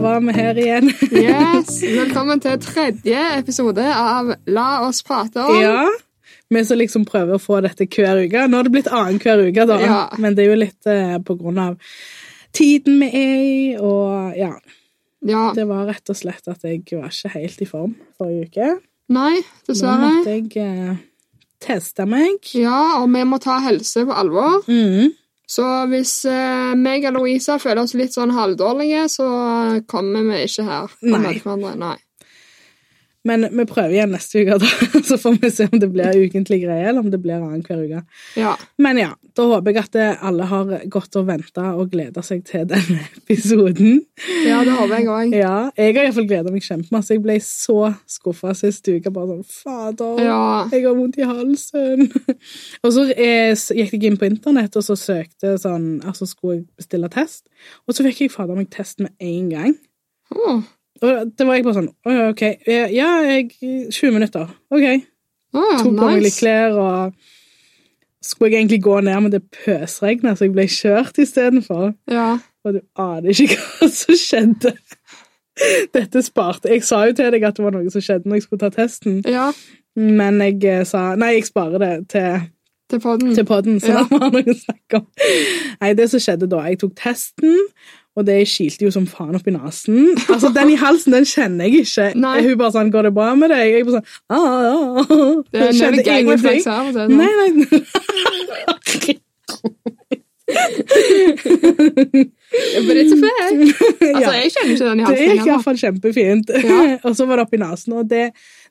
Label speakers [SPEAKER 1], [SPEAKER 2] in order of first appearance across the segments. [SPEAKER 1] var vi her igjen.
[SPEAKER 2] Yes, Velkommen til tredje episode av La oss prate om.
[SPEAKER 1] ja. Vi som liksom prøver å få dette hver uke. Nå har det blitt annenhver uke, da.
[SPEAKER 2] Ja.
[SPEAKER 1] Men det er jo litt eh, på grunn av tiden vi er i, og ja.
[SPEAKER 2] Ja.
[SPEAKER 1] Det var rett og slett at jeg var ikke helt i form forrige uke.
[SPEAKER 2] Nei,
[SPEAKER 1] Da
[SPEAKER 2] dessverre.
[SPEAKER 1] måtte jeg eh, teste meg.
[SPEAKER 2] Ja, og vi må ta helse på alvor.
[SPEAKER 1] Mm.
[SPEAKER 2] Så hvis eh, meg og Louisa føler oss litt sånn halvdårlige, så kommer vi ikke her. og
[SPEAKER 1] Nei.
[SPEAKER 2] møter hverandre. Nei.
[SPEAKER 1] Men vi prøver igjen neste uke, da. Så får vi se om det blir ukentlig greie, eller om det blir annenhver uke.
[SPEAKER 2] Ja.
[SPEAKER 1] Men ja, da håper jeg at eh, alle har gått og venta og gleda seg til denne episoden.
[SPEAKER 2] ja, det håper jeg òg.
[SPEAKER 1] Ja, jeg har iallfall gleda meg kjempemasse. Jeg ble så skuffa sist uke. Bare sånn Fader,
[SPEAKER 2] Ja.
[SPEAKER 1] jeg har vondt i halsen. og så eh, s- gikk jeg inn på internett og så søkte sånn Altså skulle jeg bestille test, og så fikk jeg fader meg test med en gang.
[SPEAKER 2] Åh,
[SPEAKER 1] Og det var jeg bare sånn «Å ja, OK. eh, Ja, jeg 20 minutter. OK.
[SPEAKER 2] åh,
[SPEAKER 1] Tok på meg litt
[SPEAKER 2] nice.
[SPEAKER 1] klær og Skulle jeg egentlig gå ned, men det pøsregna, så jeg ble kjørt istedenfor.
[SPEAKER 2] Ja.
[SPEAKER 1] Og du aner ikke hva som skjedde. Dette sparte Jeg sa jo til deg at det var noe som skjedde når jeg skulle ta testen,
[SPEAKER 2] ja.
[SPEAKER 1] men jeg eh, sa nei, jeg sparer det til,
[SPEAKER 2] Til podden.
[SPEAKER 1] til podden, så
[SPEAKER 2] Ja.
[SPEAKER 1] det var noe å snakke om. Nei, det som skjedde da Jeg tok testen, og det kilte jo som faen opp i nesen. Altså, Den i halsen den kjenner jeg ikke.
[SPEAKER 2] Nei.
[SPEAKER 1] Hun bare sånn 'Går det bra med deg?' Jeg bare sånn ah, ah, ah.
[SPEAKER 2] Det er
[SPEAKER 1] Skjønte
[SPEAKER 2] noen
[SPEAKER 1] ingenting.
[SPEAKER 2] gangretakes her. og det er sånn. noe.
[SPEAKER 1] Nei, nei.
[SPEAKER 2] But it's a fact. Altså,
[SPEAKER 1] Ja.
[SPEAKER 2] jeg kjenner ikke den i
[SPEAKER 1] Det
[SPEAKER 2] halsen
[SPEAKER 1] gikk i hvert
[SPEAKER 2] heller.
[SPEAKER 1] fall kjempefint.
[SPEAKER 2] Ja.
[SPEAKER 1] og så var det oppi nesen. Og det,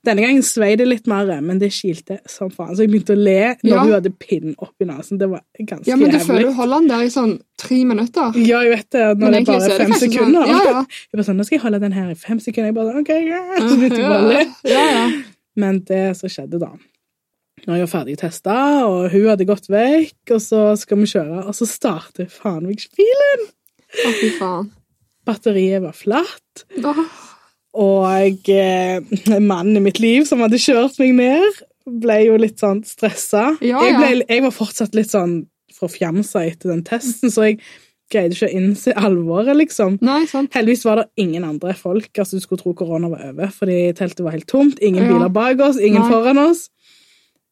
[SPEAKER 1] denne gangen svei det litt mer, men det kilte som faen. Så jeg begynte å le når
[SPEAKER 2] Ja.
[SPEAKER 1] hun hadde pinnen oppi nesen. Det var ganske
[SPEAKER 2] Ja, men du føler
[SPEAKER 1] jævlig.
[SPEAKER 2] du holder den der i sånn tre minutter.
[SPEAKER 1] Ja, jeg vet det. og Når
[SPEAKER 2] Men
[SPEAKER 1] det er
[SPEAKER 2] egentlig så
[SPEAKER 1] bare
[SPEAKER 2] er det
[SPEAKER 1] fem
[SPEAKER 2] kanskje sånn-
[SPEAKER 1] sekunder.
[SPEAKER 2] Ja, ja.
[SPEAKER 1] Jeg bare sånn, Nå skal jeg holde den her i fem sekunder. Jeg bare sånn, ok, ja. Så begynte jeg bare å le.
[SPEAKER 2] Ja, ja.
[SPEAKER 1] Men det som skjedde da Når jeg var ferdig testa, og hun hadde gått vekk, og så skal vi kjøre, og så starter faen meg ikke bilen!
[SPEAKER 2] Å, fy faen.
[SPEAKER 1] Batteriet var flatt.
[SPEAKER 2] Åh.
[SPEAKER 1] Og eh, mannen i mitt liv som hadde kjørt meg ned, ble jo litt sånn stressa.
[SPEAKER 2] Ja,
[SPEAKER 1] jeg,
[SPEAKER 2] ja.
[SPEAKER 1] ble, jeg var fortsatt litt sånn forfjamsa etter den testen, så jeg greide ikke å innse alvoret, liksom.
[SPEAKER 2] Nei, sant.
[SPEAKER 1] Heldigvis var det ingen andre folk. altså Du skulle tro korona var over, fordi teltet var helt tomt. Ingen
[SPEAKER 2] Ja.
[SPEAKER 1] biler bak oss, ingen
[SPEAKER 2] Nei.
[SPEAKER 1] foran oss.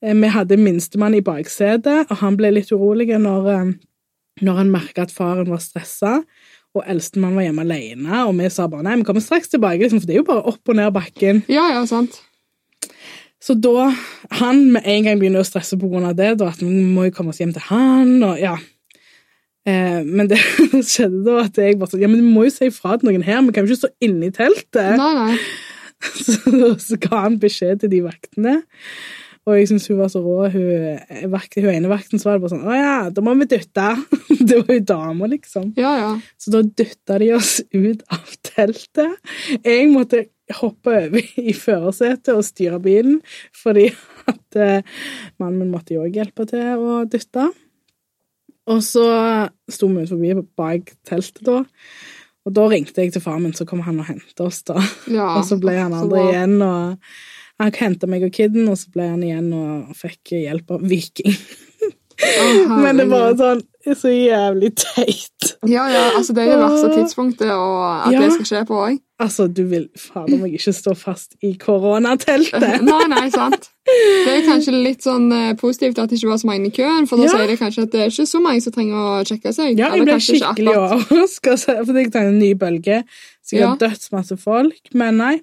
[SPEAKER 1] Eh, Vi hadde minstemann i baksetet, og han ble litt urolig når, eh, når han merka at faren var stressa. Og eldstemann var hjemme alene, og vi sa bare nei, vi kommer straks tilbake, liksom, for det er jo bare opp og ned bakken.
[SPEAKER 2] Ja, ja, sant.
[SPEAKER 1] Så da han med en gang begynner å stresse på grunn av det, da at vi må jo komme oss hjem til han, og ja. Eh, men det skjedde da at jeg bare sånn, ja, men vi må jo si ifra til noen her, vi kan jo ikke stå inne i teltet.
[SPEAKER 2] Nei, nei.
[SPEAKER 1] Så, så ga han beskjed til de vaktene. Og jeg syns hun var så rå. Hun, eh, vakt, hun ene vakten så var det bare sånn Å ja, da må vi dytte. Det var jo dama, liksom.
[SPEAKER 2] Ja, ja.
[SPEAKER 1] Så da dytta de oss ut av teltet. Jeg måtte hoppe over i førersetet og styre bilen, fordi at eh, mannen min måtte jo òg hjelpe til å dytte. Og så sto vi utenfor bak teltet, da. Og da ringte jeg til faren min, så kom han og hentet oss, da.
[SPEAKER 2] ja.
[SPEAKER 1] Og så ble han
[SPEAKER 2] Så
[SPEAKER 1] andre
[SPEAKER 2] bra.
[SPEAKER 1] igjen, og han henta meg og kiden, og så ble han igjen og fikk hjelp av Viking.
[SPEAKER 2] Å,
[SPEAKER 1] Men det var
[SPEAKER 2] herregud.
[SPEAKER 1] sånn så jævlig teit.
[SPEAKER 2] Ja, ja, altså det er det verste tidspunktet, og at
[SPEAKER 1] Ja.
[SPEAKER 2] det skal skje på òg.
[SPEAKER 1] Altså, du vil fader meg ikke stå fast i koronateltet.
[SPEAKER 2] Nei, nei, sant. Det er kanskje litt sånn eh, positivt at det ikke var så mange i køen, for da
[SPEAKER 1] Ja.
[SPEAKER 2] sier det kanskje at det er ikke så mange som trenger å sjekke seg.
[SPEAKER 1] Ja, jeg
[SPEAKER 2] eller
[SPEAKER 1] ble
[SPEAKER 2] kanskje ikke
[SPEAKER 1] skikkelig
[SPEAKER 2] akkurat-
[SPEAKER 1] overraska, for jeg tenkte en ny bølge. Sikkert dødsmasse folk. Men nei,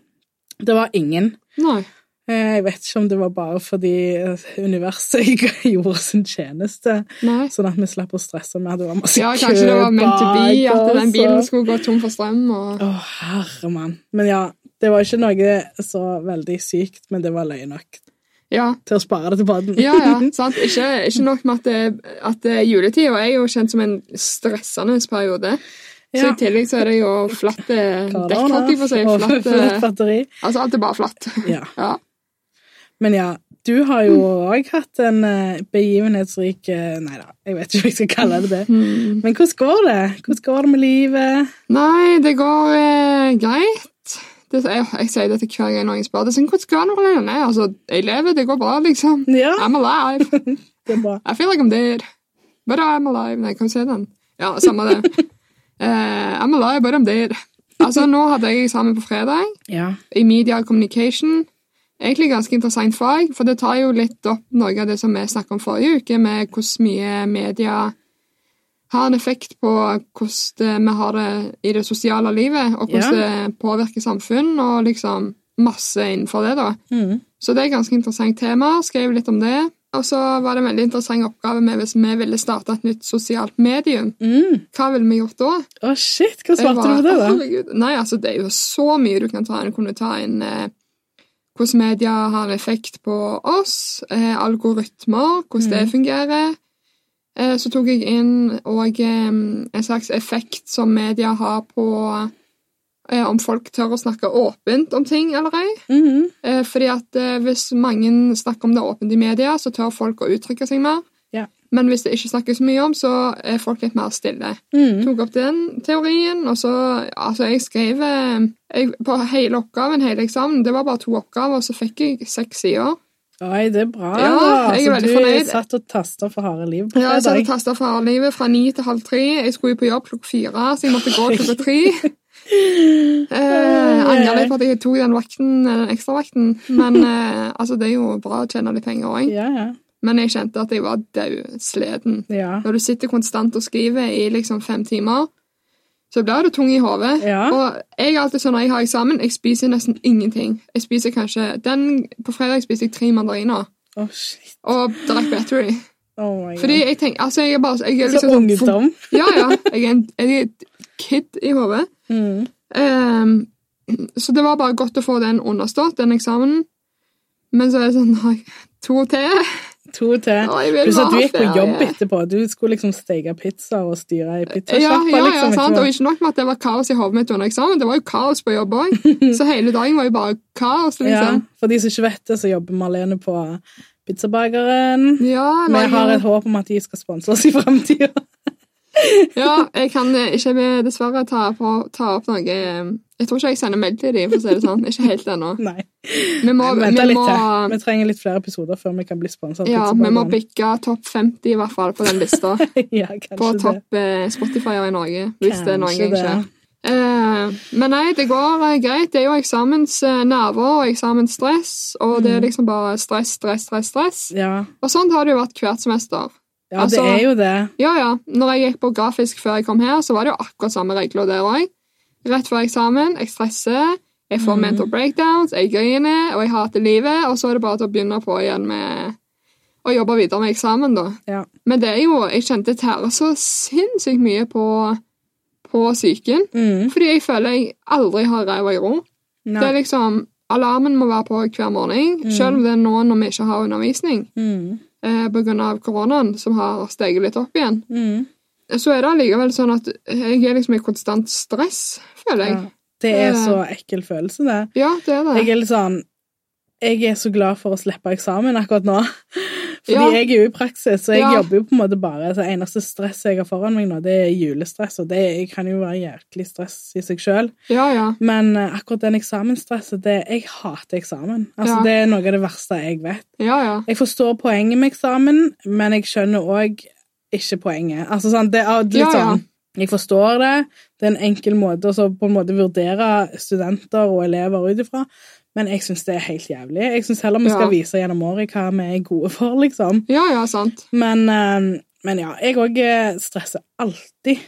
[SPEAKER 1] det var ingen.
[SPEAKER 2] Nei.
[SPEAKER 1] Eh, Jeg vet ikke om det var bare fordi eh, universet gjorde sin tjeneste,
[SPEAKER 2] nei.
[SPEAKER 1] sånn at vi slapp å stresse med at det var masse
[SPEAKER 2] Ja, kanskje det var meant to be,
[SPEAKER 1] bak
[SPEAKER 2] at den
[SPEAKER 1] oss,
[SPEAKER 2] bilen
[SPEAKER 1] og-
[SPEAKER 2] skulle gå tom for strøm. og...
[SPEAKER 1] Å, herre mann. Men ja, det var ikke noe så veldig sykt, men det var løye nok
[SPEAKER 2] Ja,
[SPEAKER 1] til å spare det til podden.
[SPEAKER 2] ja, ja sant. Ikke, ikke nok med at, det, at det er juletid, og jeg er jo kjent som en stressende periode. Så
[SPEAKER 1] Ja.
[SPEAKER 2] i tillegg så er det jo flatt eh,
[SPEAKER 1] Korona
[SPEAKER 2] dekk, holdt jeg på å si.
[SPEAKER 1] og
[SPEAKER 2] Flatt,
[SPEAKER 1] fullt
[SPEAKER 2] eh,
[SPEAKER 1] batteri.
[SPEAKER 2] altså alt er bare flatt.
[SPEAKER 1] Ja.
[SPEAKER 2] Ja.
[SPEAKER 1] Men ja, du har jo òg hatt en eh, begivenhetsrik eh, Nei da, jeg vet ikke hva jeg skal kalle det. det.
[SPEAKER 2] Hmm.
[SPEAKER 1] Men hvordan går det? Hvordan går det med livet?
[SPEAKER 2] Nei, det går eh, greit. Det, jeg, jeg sier dette hver gang noen spør. Det er sånn, hvordan går det med deg?» Nei, altså, jeg lever, det går bra, liksom.
[SPEAKER 1] Ja,
[SPEAKER 2] I'm alive.
[SPEAKER 1] det er bra.
[SPEAKER 2] I feel like I'm dead. But I'm alive. Nei, kan du se den? Ja, samme det. Eh, I'm alive, but I'm dead. Altså, nå hadde jeg eksamen på fredag
[SPEAKER 1] Ja.
[SPEAKER 2] i media communication. Egentlig ganske interessant fag, for det tar jo litt opp noe av det som vi snakket om forrige uke, med hvordan mye media har en effekt på hvordan det, vi har det i det sosiale livet, og hvordan det påvirker samfunn, og liksom masse innenfor det, da.
[SPEAKER 1] Mm.
[SPEAKER 2] Så det er et ganske interessant tema. Skrev litt om det. Og så var det en veldig interessant oppgave med hvis vi ville starte et nytt sosialt medium.
[SPEAKER 1] Mm.
[SPEAKER 2] Hva ville vi gjort da?
[SPEAKER 1] Å, shit! Hva
[SPEAKER 2] Jeg
[SPEAKER 1] svarte du på det,
[SPEAKER 2] bare,
[SPEAKER 1] da?
[SPEAKER 2] herregud. Nei, altså, det er jo så mye du kan ta inn. Kunne ta inn eh, hvordan media har en effekt på oss, eh, algoritmer, hvordan
[SPEAKER 1] Mm.
[SPEAKER 2] det fungerer. Eh, så tok jeg inn og eh, en slags effekt som media har på eh, om folk tør å snakke åpent om ting eller ei.
[SPEAKER 1] Mhm.
[SPEAKER 2] Eh, Fordi at eh, hvis mange snakker om det åpent i media, så tør folk å uttrykke seg mer.
[SPEAKER 1] Ja.
[SPEAKER 2] Men hvis det ikke snakkes mye om, så er folk litt mer stille.
[SPEAKER 1] Mhm.
[SPEAKER 2] Tok opp den teorien, og så Altså, jeg skrev eh, jeg, På hele oppgaven, hele eksamen, det var bare to oppgaver, og så fikk jeg seks sider.
[SPEAKER 1] Oi, det er bra.
[SPEAKER 2] Ja,
[SPEAKER 1] da.
[SPEAKER 2] jeg er
[SPEAKER 1] Så
[SPEAKER 2] veldig
[SPEAKER 1] du
[SPEAKER 2] fornøyd.
[SPEAKER 1] satt og tasta for harde liv på
[SPEAKER 2] Ja, jeg satt og
[SPEAKER 1] fredag.
[SPEAKER 2] tasta for livet fra ni til halv tre. Jeg skulle jo på jobb klokka fire, så jeg måtte gå klokka tre. Eh, Angrer litt på at jeg tok den vakten, den ekstravakten, men eh, altså, det er jo bra å tjene litt penger òg.
[SPEAKER 1] Ja, ja.
[SPEAKER 2] Men jeg kjente at jeg var daudsleden.
[SPEAKER 1] Ja.
[SPEAKER 2] Når du sitter konstant og skriver i liksom fem timer, så blir du tung i hodet.
[SPEAKER 1] Ja.
[SPEAKER 2] Og jeg er alltid sånn når jeg har eksamen, jeg spiser nesten ingenting. Jeg spiser kanskje, den, På fredag spiste jeg tre mandariner
[SPEAKER 1] Å, shit.
[SPEAKER 2] og drakk battery.
[SPEAKER 1] Oh my God.
[SPEAKER 2] Fordi jeg tenker Altså, jeg er bare jeg er
[SPEAKER 1] Så
[SPEAKER 2] liksom sånn-
[SPEAKER 1] ungdom.
[SPEAKER 2] Ja, ja. Jeg er en, jeg er et kid i hodet.
[SPEAKER 1] Mm.
[SPEAKER 2] Ehm, så det var bare godt å få den understått, den eksamen. Men så er det sånn nei, To til.
[SPEAKER 1] To til.
[SPEAKER 2] Å, jeg vil
[SPEAKER 1] Pluss at du
[SPEAKER 2] ha
[SPEAKER 1] gikk på jobb
[SPEAKER 2] ferie.
[SPEAKER 1] etterpå. Du skulle liksom steke pizza og styre i
[SPEAKER 2] Ja,
[SPEAKER 1] pizzasjappa.
[SPEAKER 2] ja, ja,
[SPEAKER 1] liksom,
[SPEAKER 2] sant.
[SPEAKER 1] etterpå.
[SPEAKER 2] Og ikke nok med at det var kaos i hodet mitt under eksamen, det var jo kaos på jobb òg. Så hele dagen var jo bare kaos,
[SPEAKER 1] ja,
[SPEAKER 2] liksom.
[SPEAKER 1] for de som ikke vet det, så jobber Marlene på Pizzabakeren.
[SPEAKER 2] Ja,
[SPEAKER 1] Vi
[SPEAKER 2] lager-
[SPEAKER 1] har et håp om at de skal sponse oss i framtida.
[SPEAKER 2] ja jeg kan eh, ikke eh, dessverre ta, på, ta opp noe eh, Jeg tror ikke jeg sender melding til dem, for å si det sånn. Ikke helt ennå.
[SPEAKER 1] Nei,
[SPEAKER 2] Vi
[SPEAKER 1] vi
[SPEAKER 2] må, vi
[SPEAKER 1] venter litt
[SPEAKER 2] må,
[SPEAKER 1] til. Vi trenger litt flere episoder før vi kan bli sponsa av
[SPEAKER 2] ja, vi må
[SPEAKER 1] Pizzabakeren.
[SPEAKER 2] bikke topp 50 i hvert fall på den lista.
[SPEAKER 1] Ja,
[SPEAKER 2] På
[SPEAKER 1] kanskje det.
[SPEAKER 2] topp eh, Spotifyer i Norge, hvis det noen
[SPEAKER 1] Kanskje
[SPEAKER 2] gang skjer. Eh, men nei, det går eh, greit. Det er jo eksamensnerver og eksamensstress, og det er liksom bare stress, stress, stress, stress.
[SPEAKER 1] Ja,
[SPEAKER 2] Og sånn har det jo vært hvert semester.
[SPEAKER 1] ja
[SPEAKER 2] Altså-
[SPEAKER 1] det er jo det.
[SPEAKER 2] Ja, ja. Når jeg gikk på grafisk før jeg kom her, så var det jo akkurat samme regler der òg. Rett før eksamen, jeg stresser, jeg får mental breakdowns, jeg griner, og jeg hater livet, og så er det bare til å begynne på igjen med å jobbe videre med eksamen, da.
[SPEAKER 1] Ja.
[SPEAKER 2] Men det er jo Jeg kjente det tærer så sinnssykt mye på, på psyken.
[SPEAKER 1] Mm.
[SPEAKER 2] Fordi jeg føler jeg aldri har ræva i ro. Det
[SPEAKER 1] Nei.
[SPEAKER 2] er liksom Alarmen må være på hver morgen, selv om det er nå når vi ikke har undervisning
[SPEAKER 1] Mm.
[SPEAKER 2] eh, pga. koronaen, som har steget litt opp igjen
[SPEAKER 1] Mm.
[SPEAKER 2] så er det allikevel sånn at jeg er liksom i konstant stress, føler jeg.
[SPEAKER 1] Ja. Det er
[SPEAKER 2] Eh.
[SPEAKER 1] så ekkel følelse, det.
[SPEAKER 2] Ja, det er det.
[SPEAKER 1] Jeg er litt sånn Jeg er så glad for å slippe eksamen akkurat nå. Fordi
[SPEAKER 2] Ja.
[SPEAKER 1] jeg er jo i praksis, så jeg
[SPEAKER 2] Ja.
[SPEAKER 1] jobber jo på en måte bare altså, Eneste stress jeg har foran meg nå, det er julestress, og det kan jo være jæklig stress i seg sjøl.
[SPEAKER 2] Ja, ja.
[SPEAKER 1] Men eh, akkurat den eksamensstresset, det Jeg hater eksamen. Altså,
[SPEAKER 2] Ja.
[SPEAKER 1] Det er noe av det verste jeg vet.
[SPEAKER 2] Ja, ja.
[SPEAKER 1] Jeg forstår poenget med eksamen, men jeg skjønner òg ikke poenget. Altså sånn, det er litt
[SPEAKER 2] Ja, ja.
[SPEAKER 1] sånn Jeg forstår det, det er en enkel måte å så på en måte vurdere studenter og elever ut ifra, men jeg syns det er helt jævlig. Jeg syns heller vi skal
[SPEAKER 2] Ja.
[SPEAKER 1] vise gjennom året hva vi er gode for, liksom.
[SPEAKER 2] Ja, ja, sant.
[SPEAKER 1] Men, eh, men ja, jeg òg stresser alltid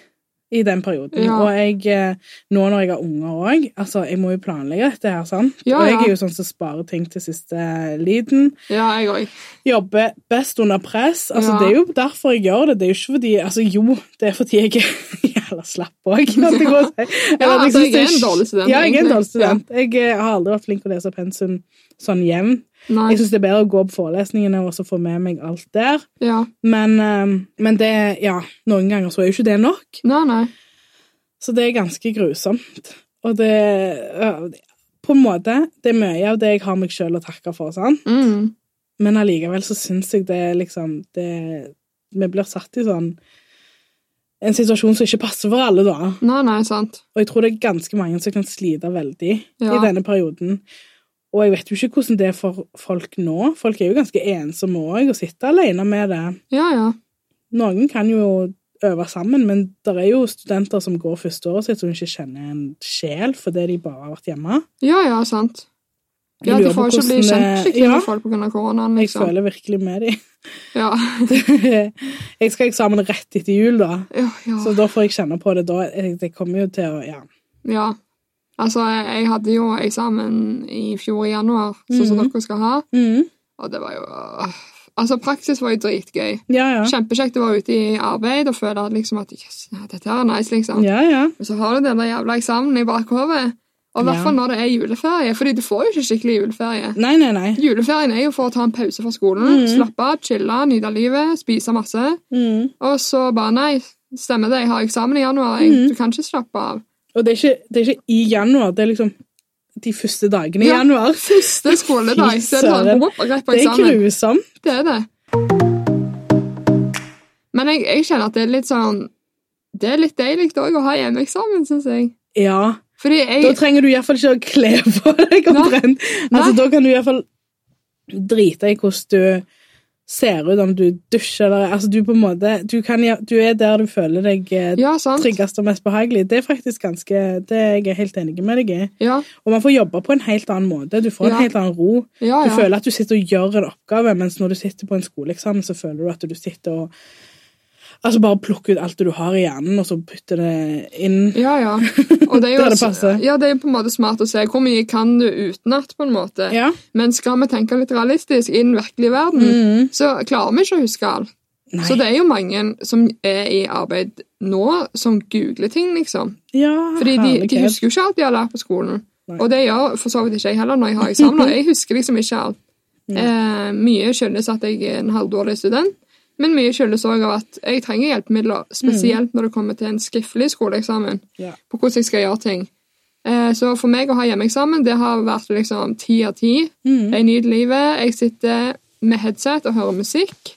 [SPEAKER 1] i den perioden.
[SPEAKER 2] Ja.
[SPEAKER 1] Og jeg, eh, nå når jeg har unger òg Altså, jeg må jo planlegge dette her, sant?
[SPEAKER 2] Ja,
[SPEAKER 1] og jeg
[SPEAKER 2] ja.
[SPEAKER 1] er jo sånn som sparer ting til siste liten
[SPEAKER 2] Ja, jeg òg.
[SPEAKER 1] jobber best under press. Altså,
[SPEAKER 2] Ja.
[SPEAKER 1] Det er jo derfor jeg gjør det. Det er jo ikke fordi Altså, jo, det er fordi jeg er jævla slapp òg. Ja,
[SPEAKER 2] altså, jeg er en dårlig student,
[SPEAKER 1] Ja, jeg liksom, er en
[SPEAKER 2] egentlig.
[SPEAKER 1] dårlig student. Jeg eh, har aldri vært flink til å lese pensum sånn jevnt.
[SPEAKER 2] Nei.
[SPEAKER 1] Jeg syns det er bedre å gå på forelesningene og så få med meg alt der.
[SPEAKER 2] Ja.
[SPEAKER 1] Men, eh, men det Ja, noen ganger så er jo ikke det nok.
[SPEAKER 2] Nei, nei.
[SPEAKER 1] Så det er ganske grusomt. Og det øh, På en måte, det er mye av det jeg har meg sjøl å takke for, sant?
[SPEAKER 2] Mm.
[SPEAKER 1] Men allikevel så syns jeg det er liksom det, Vi blir satt i sånn en situasjon som ikke passer for alle, da.
[SPEAKER 2] Nei, nei, sant.
[SPEAKER 1] Og jeg tror det er ganske mange som kan slite veldig i
[SPEAKER 2] Ja.
[SPEAKER 1] denne perioden. Og jeg vet jo ikke hvordan det er for folk nå. Folk er jo ganske ensomme òg, og sitter alene med det.
[SPEAKER 2] Ja, ja.
[SPEAKER 1] Noen kan jo øve sammen, men det er jo studenter som går førsteåret sitt som ikke kjenner en sjel fordi de bare har vært hjemme.
[SPEAKER 2] Ja, ja, sant.
[SPEAKER 1] Jeg
[SPEAKER 2] Ja,
[SPEAKER 1] lurer
[SPEAKER 2] De
[SPEAKER 1] på
[SPEAKER 2] får ikke bli
[SPEAKER 1] hvordan,
[SPEAKER 2] kjent
[SPEAKER 1] eh,
[SPEAKER 2] skikkelig
[SPEAKER 1] ja.
[SPEAKER 2] med folk pga. koronaen.
[SPEAKER 1] Jeg
[SPEAKER 2] liksom.
[SPEAKER 1] føler virkelig med dem.
[SPEAKER 2] Ja,
[SPEAKER 1] jeg skal ha eksamen rett etter jul, da,
[SPEAKER 2] ja, ja.
[SPEAKER 1] så da får jeg kjenne på det da. Jeg, jeg kommer jo til å Ja.
[SPEAKER 2] ja. Altså, jeg, jeg hadde jo eksamen i fjor i januar, sånn som dere skal ha,
[SPEAKER 1] Mhm.
[SPEAKER 2] og det var jo øh. Altså, praksis var jo dritgøy.
[SPEAKER 1] ja, ja.
[SPEAKER 2] Kjempekjekt å være ute i arbeid og føle at liksom at yes, ja, dette her er nice, liksom.
[SPEAKER 1] Ja, ja.
[SPEAKER 2] Men så har du den der jævla eksamen i bakhodet. Og i hvert
[SPEAKER 1] Ja.
[SPEAKER 2] fall når det er juleferie, fordi du får jo ikke skikkelig juleferie.
[SPEAKER 1] Nei, nei, nei.
[SPEAKER 2] Juleferien er jo for å ta en pause fra skolen, slappe av, chille, nyte livet, spise masse.
[SPEAKER 1] Mhm.
[SPEAKER 2] Og så bare nei, stemmer det, jeg har eksamen i januar, jeg,
[SPEAKER 1] Mhm.
[SPEAKER 2] du kan ikke slappe av.
[SPEAKER 1] Og det er, ikke, det er ikke i januar, det er liksom de første dagene i
[SPEAKER 2] Ja.
[SPEAKER 1] januar.
[SPEAKER 2] Første skoledag,
[SPEAKER 1] Fy
[SPEAKER 2] så er det
[SPEAKER 1] søren.
[SPEAKER 2] sånn, hopp, rett på
[SPEAKER 1] Det er
[SPEAKER 2] eksamen.
[SPEAKER 1] grusomt.
[SPEAKER 2] Det er det. Men jeg, jeg kjenner at det er litt sånn Det er litt deilig òg å ha hjemmeeksamen, syns jeg.
[SPEAKER 1] Ja.
[SPEAKER 2] Fordi
[SPEAKER 1] Da
[SPEAKER 2] jeg
[SPEAKER 1] trenger du iallfall ikke å kle på deg omtrent. Altså,
[SPEAKER 2] Nei.
[SPEAKER 1] da kan du iallfall drite i hvordan du ser ut, om du dusjer eller Altså, du på en måte Du, kan, gjøre- du er der du føler deg eh,
[SPEAKER 2] Ja, sant.
[SPEAKER 1] tryggest og mest behagelig. Det er faktisk ganske Det er jeg helt enig med deg i.
[SPEAKER 2] Ja,
[SPEAKER 1] Og man får jobbe på en helt annen måte. Du får en
[SPEAKER 2] Ja.
[SPEAKER 1] helt annen ro.
[SPEAKER 2] ja.
[SPEAKER 1] Du
[SPEAKER 2] ja.
[SPEAKER 1] føler at du sitter og gjør en oppgave, mens når du sitter på en skoleeksamen, så føler du at du sitter og Altså bare plukker ut alt det du har i hjernen, og så putter det inn.
[SPEAKER 2] Ja, ja. Og det er jo
[SPEAKER 1] Der det passer.
[SPEAKER 2] Ja, det er jo på en måte smart å se hvor mye kan du utenat, på en måte.
[SPEAKER 1] Ja.
[SPEAKER 2] Men skal vi tenke litt realistisk i den virkelige verden,
[SPEAKER 1] Mhm.
[SPEAKER 2] så klarer vi ikke å huske alt.
[SPEAKER 1] Nei.
[SPEAKER 2] Mm. Så det er jo mange som er i arbeid nå, som googler ting, liksom.
[SPEAKER 1] ja,
[SPEAKER 2] Fordi de, de
[SPEAKER 1] herlighet.
[SPEAKER 2] husker jo ikke alt de har lært på skolen.
[SPEAKER 1] Nei.
[SPEAKER 2] Og det gjør for så vidt ikke jeg heller når jeg har eksamen. Jeg husker liksom ikke alt.
[SPEAKER 1] Nei.
[SPEAKER 2] Eh, mye skyldes at jeg er en halvdårlig student, men mye skyldes òg av at jeg trenger hjelpemidler, spesielt når det kommer til en skriftlig skoleeksamen,
[SPEAKER 1] Mm. Ja.
[SPEAKER 2] på hvordan jeg skal gjøre ting. Eh, så for meg å ha hjemmeeksamen, det har vært liksom ti av ti.
[SPEAKER 1] Mhm.
[SPEAKER 2] Jeg nyter livet. Jeg sitter med headset og hører musikk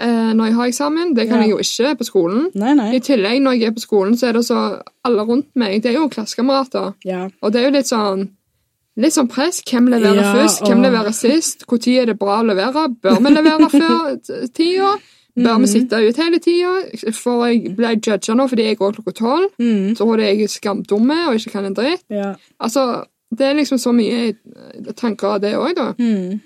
[SPEAKER 2] eh, når jeg har eksamen. Det kan
[SPEAKER 1] Ja.
[SPEAKER 2] jeg jo ikke på skolen.
[SPEAKER 1] Nei, nei.
[SPEAKER 2] I tillegg, når jeg er på skolen, så er det så alle rundt meg. Det er jo klassekamerater.
[SPEAKER 1] Ja.
[SPEAKER 2] Og det er jo litt sånn Litt sånn press. Hvem leverer
[SPEAKER 1] Ja,
[SPEAKER 2] først? Hvem
[SPEAKER 1] åh.
[SPEAKER 2] leverer sist? Når er det bra å levere? Bør vi levere før t- tida? Bør
[SPEAKER 1] Mm.
[SPEAKER 2] vi sitte ut hele tida? For jeg ble judga nå fordi jeg går klokka tolv.
[SPEAKER 1] Mhm.
[SPEAKER 2] Tror jeg er skamdumme og ikke kan en dritt.
[SPEAKER 1] ja.
[SPEAKER 2] Altså, Det er liksom så mye eh, tanker av det òg, da.
[SPEAKER 1] Mhm.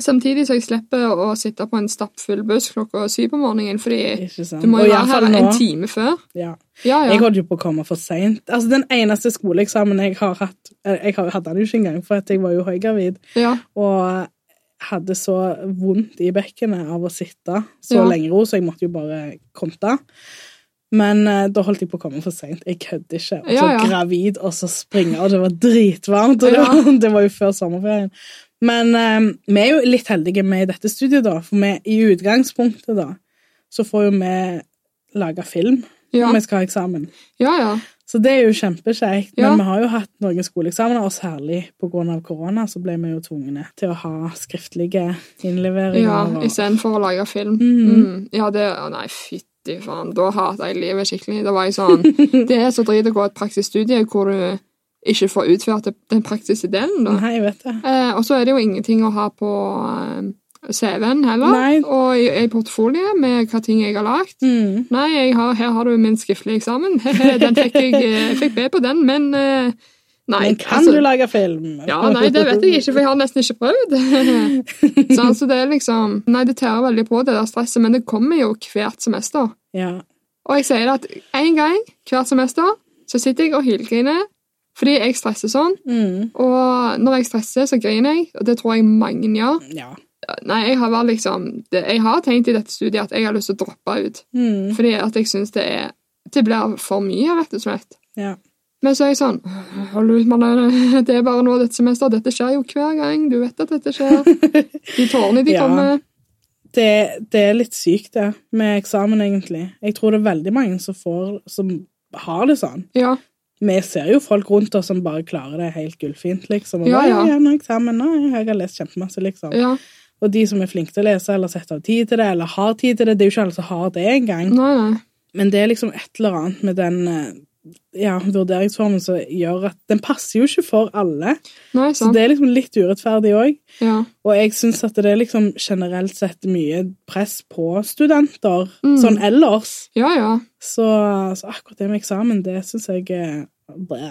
[SPEAKER 2] Samtidig så jeg slipper å sitte på en stappfull buss klokka syv om morgenen, fordi
[SPEAKER 1] Ikke sant.
[SPEAKER 2] du må
[SPEAKER 1] Og
[SPEAKER 2] jo
[SPEAKER 1] i
[SPEAKER 2] være
[SPEAKER 1] hvert
[SPEAKER 2] her
[SPEAKER 1] fall nå-
[SPEAKER 2] en time før.
[SPEAKER 1] Ja.
[SPEAKER 2] Ja, ja.
[SPEAKER 1] Jeg holdt jo på å komme for seint. Altså, den eneste skoleeksamen jeg har hatt eller, Jeg har- hadde den jo ikke engang, for at jeg var jo høygravid.
[SPEAKER 2] ja.
[SPEAKER 1] og hadde så vondt i bekkenet av å sitte så
[SPEAKER 2] Ja.
[SPEAKER 1] lenge ro, så jeg måtte jo bare konte. Men eh, da holdt jeg på å komme for seint. Jeg kødder ikke. Og så
[SPEAKER 2] Ja, ja.
[SPEAKER 1] gravid, og så springe, og det var dritvarmt. Og det,
[SPEAKER 2] Ja.
[SPEAKER 1] var, det var jo før sommerferien. Men eh, vi er jo litt heldige med i dette studiet, da. For vi, i utgangspunktet, da, så får jo vi lage film
[SPEAKER 2] Ja,
[SPEAKER 1] når vi skal ha eksamen.
[SPEAKER 2] ja. ja.
[SPEAKER 1] Så det er jo kjempekjekt. Men
[SPEAKER 2] Ja.
[SPEAKER 1] vi har jo hatt noen skoleeksamener, og særlig pga. korona så ble vi jo tvungne til å ha skriftlige
[SPEAKER 2] ja
[SPEAKER 1] innleveringer. og-
[SPEAKER 2] Istedenfor å lage film.
[SPEAKER 1] Mhm.
[SPEAKER 2] Mm. Ja, det å Nei, fytti faen. Da hater jeg livet skikkelig. Da var jeg sånn Det er så drit å gå et praksisstudie hvor du ikke får utført den praktiske delen, da.
[SPEAKER 1] Nei, jeg vet det.
[SPEAKER 2] Eh, og så er det jo ingenting å ha på eh, CV-en heller,
[SPEAKER 1] Nei.
[SPEAKER 2] og i, i portfolio med hva ting jeg har lagd.
[SPEAKER 1] Mm.
[SPEAKER 2] Nei, jeg har, her har du min skriftlige eksamen. den fikk jeg, eh, fikk B på den, men eh, nei.
[SPEAKER 1] Men kan
[SPEAKER 2] altså-
[SPEAKER 1] du lage film?
[SPEAKER 2] Ja, nei, det vet jeg ikke, for jeg har nesten ikke prøvd. så altså, det er liksom Nei, det tærer veldig på, det der stresset, men det kommer jo hvert semester.
[SPEAKER 1] Ja.
[SPEAKER 2] Og jeg sier det at én gang hvert semester så sitter jeg og hylgriner fordi jeg stresser sånn.
[SPEAKER 1] Mm.
[SPEAKER 2] Og når jeg stresser, så griner jeg, og det tror jeg mange gjør.
[SPEAKER 1] ja.
[SPEAKER 2] Nei, jeg har, vel liksom, det, jeg har tenkt i dette studiet at jeg har lyst til å droppe ut.
[SPEAKER 1] Mm.
[SPEAKER 2] Fordi at jeg syns det er Det blir for mye, rett og slett.
[SPEAKER 1] ja.
[SPEAKER 2] Men så er jeg sånn Hold ut, Marlene. Det er bare nå dette semesteret. Dette skjer jo hver gang. Du vet at dette skjer. De tårene de
[SPEAKER 1] Ja.
[SPEAKER 2] kommer.
[SPEAKER 1] Det, det er litt sykt, det, med eksamen, egentlig. Jeg tror det er veldig mange som, får, som har det sånn.
[SPEAKER 2] Ja.
[SPEAKER 1] Vi ser jo folk rundt oss som bare klarer det helt gullfint, liksom. Og
[SPEAKER 2] Ja,
[SPEAKER 1] bare,
[SPEAKER 2] ja.
[SPEAKER 1] ja, ja. nå er eksamen, nå, jeg har lest kjempemasse, liksom.
[SPEAKER 2] ja.
[SPEAKER 1] Og de som er flinke til å lese, eller setter av tid til det, eller har tid til det Det er jo ikke alle som har det engang.
[SPEAKER 2] Nei, nei.
[SPEAKER 1] Men det er liksom et eller annet med den eh, ja, vurderingsformen som gjør at den passer jo ikke for alle.
[SPEAKER 2] Nei,
[SPEAKER 1] Så
[SPEAKER 2] sant.
[SPEAKER 1] det er liksom litt urettferdig òg.
[SPEAKER 2] Ja.
[SPEAKER 1] Og jeg syns at det er liksom generelt sett mye press på studenter
[SPEAKER 2] Mm.
[SPEAKER 1] sånn ellers.
[SPEAKER 2] ja, ja.
[SPEAKER 1] Så, så akkurat det med eksamen, det syns jeg eh, blæ.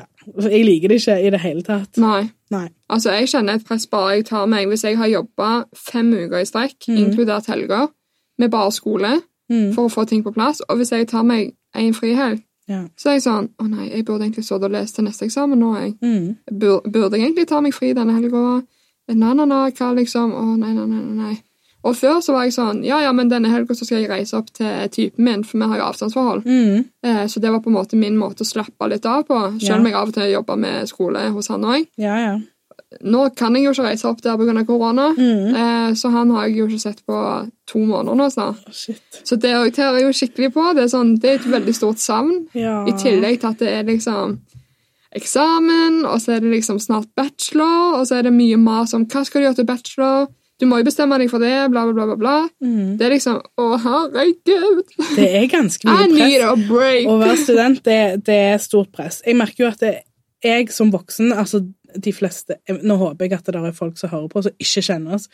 [SPEAKER 1] Jeg liker det ikke i det hele tatt.
[SPEAKER 2] Nei.
[SPEAKER 1] Nei.
[SPEAKER 2] Altså, jeg kjenner et press bare jeg tar meg hvis jeg har jobba fem uker i strekk,
[SPEAKER 1] Mhm.
[SPEAKER 2] inkludert helger, med bare skole,
[SPEAKER 1] Mm.
[SPEAKER 2] for å få ting på plass. Og hvis jeg tar meg en frihelg,
[SPEAKER 1] Ja.
[SPEAKER 2] så er jeg sånn Å nei, jeg burde egentlig stått og lest til neste eksamen nå, jeg.
[SPEAKER 1] Mm.
[SPEAKER 2] Bur, burde jeg egentlig ta meg fri denne helga? Na, na, na, hva liksom? Å nei, nei, nei, nei, nei. Og før så var jeg sånn Ja, ja, men denne helga så skal jeg reise opp til typen min, for vi har jo avstandsforhold.
[SPEAKER 1] Mm.
[SPEAKER 2] Eh, så det var på en måte min måte å slappe litt av på,
[SPEAKER 1] Ja.
[SPEAKER 2] selv om jeg av og til jobber med skole hos han òg.
[SPEAKER 1] Ja, ja.
[SPEAKER 2] Nå kan jeg jo ikke reise opp der pga. korona,
[SPEAKER 1] Mm.
[SPEAKER 2] eh, så han har jeg jo ikke sett på to måneder nå snart.
[SPEAKER 1] Shit.
[SPEAKER 2] Så det orienterer jeg jo skikkelig på. Det er, sånn, det er et veldig stort savn.
[SPEAKER 1] Ja.
[SPEAKER 2] I tillegg til at det er liksom eksamen, og så er det liksom snart bachelor, og så er det mye mas om hva skal du gjøre til bachelor, du må jo bestemme deg for det, bla, bla, bla, bla. bla.
[SPEAKER 1] Mm.
[SPEAKER 2] Det er liksom Å, herregud!
[SPEAKER 1] Det er ganske
[SPEAKER 2] I
[SPEAKER 1] mye press.
[SPEAKER 2] need a break!
[SPEAKER 1] Å være student, det, det er stort press. Jeg merker jo at det, jeg som voksen, altså de fleste Nå håper jeg at det er folk som hører på, som ikke kjenner oss.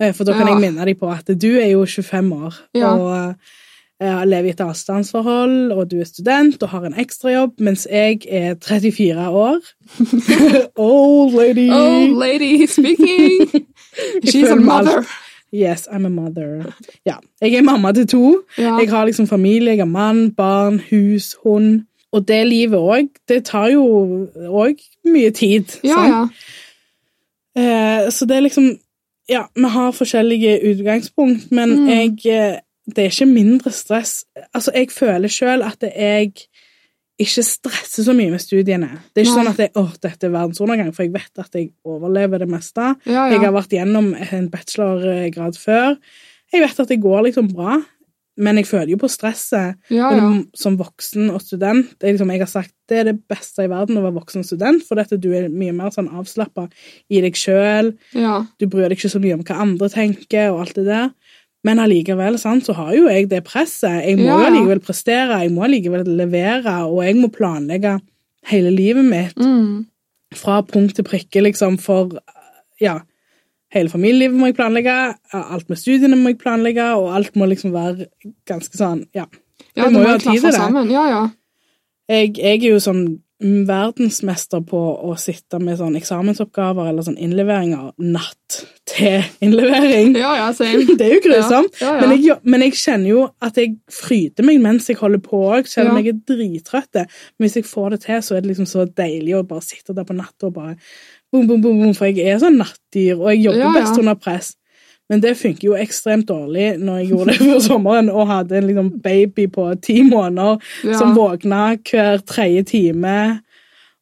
[SPEAKER 1] Eh, For da kan
[SPEAKER 2] Ja.
[SPEAKER 1] jeg minne dem på at du er jo 25 år
[SPEAKER 2] Ja.
[SPEAKER 1] og eh, lever i et avstandsforhold, og du er student og har en ekstrajobb, mens jeg er 34 år. Old lady!
[SPEAKER 2] Oh, lady speaking! She's a
[SPEAKER 1] føler meg alt-
[SPEAKER 2] mother!
[SPEAKER 1] Yes, I'm a mother. Ja. Jeg er mamma til to.
[SPEAKER 2] Ja.
[SPEAKER 1] Jeg har liksom familie, jeg har mann, barn, hus, hund. Og det livet òg, det tar jo òg mye tid.
[SPEAKER 2] Ja,
[SPEAKER 1] sant?
[SPEAKER 2] ja.
[SPEAKER 1] Eh, så det er liksom Ja, vi har forskjellige utgangspunkt, men
[SPEAKER 2] Mm.
[SPEAKER 1] jeg eh, Det er ikke mindre stress. Altså, jeg føler sjøl at jeg ikke stresser så mye med studiene. Det er ikke
[SPEAKER 2] Nei.
[SPEAKER 1] sånn at jeg, åh, dette er verdensundergang, for jeg vet at jeg overlever det meste.
[SPEAKER 2] ja,
[SPEAKER 1] Jeg
[SPEAKER 2] ja.
[SPEAKER 1] har vært gjennom en bachelorgrad før. Jeg vet at det går liksom bra, men jeg føler jo på stresset.
[SPEAKER 2] ja,
[SPEAKER 1] Og
[SPEAKER 2] Ah, ja.
[SPEAKER 1] det- Som voksen og student det er liksom, Jeg har sagt det er det beste i verden å være voksen og student, for dette, du er mye mer sånn avslappa i deg sjøl.
[SPEAKER 2] ja.
[SPEAKER 1] Du bryr deg ikke så mye om hva andre tenker, og alt det der. Men allikevel sant, så har jo jeg det presset. Jeg må
[SPEAKER 2] Ja,
[SPEAKER 1] jo
[SPEAKER 2] ja.
[SPEAKER 1] allikevel prestere, jeg må allikevel levere, og jeg må planlegge hele livet mitt
[SPEAKER 2] Mm.
[SPEAKER 1] fra punkt til prikke, liksom, for ja, hele familielivet må jeg planlegge, alt med studiene må jeg planlegge, og alt må liksom være ganske sånn, ja.
[SPEAKER 2] Ja,
[SPEAKER 1] Jeg
[SPEAKER 2] du
[SPEAKER 1] må
[SPEAKER 2] må
[SPEAKER 1] jo ha
[SPEAKER 2] jo
[SPEAKER 1] tid til
[SPEAKER 2] klaffe
[SPEAKER 1] det.
[SPEAKER 2] sammen. Ja, ja.
[SPEAKER 1] Jeg, jeg er jo sånn verdensmester på å sitte med sånn eksamensoppgaver eller sånn innleveringer natt til innlevering.
[SPEAKER 2] Ja, ja, same.
[SPEAKER 1] Det er jo grusomt.
[SPEAKER 2] Ja, ja, ja.
[SPEAKER 1] Men, jeg, jo- men jeg kjenner jo at jeg fryder meg mens jeg holder på òg, selv om
[SPEAKER 2] Ja.
[SPEAKER 1] jeg er drittrøtt. Men hvis jeg får det til, så er det liksom så deilig å bare sitte der på natta og bare boom, boom, boom, boom, for jeg er sånn nattdyr, og jeg jobber
[SPEAKER 2] Ja, ja.
[SPEAKER 1] best under press. Men det funker jo ekstremt dårlig når jeg gjorde det før sommeren og hadde en liksom baby på ti måneder
[SPEAKER 2] Ja.
[SPEAKER 1] som våkna hver tredje time,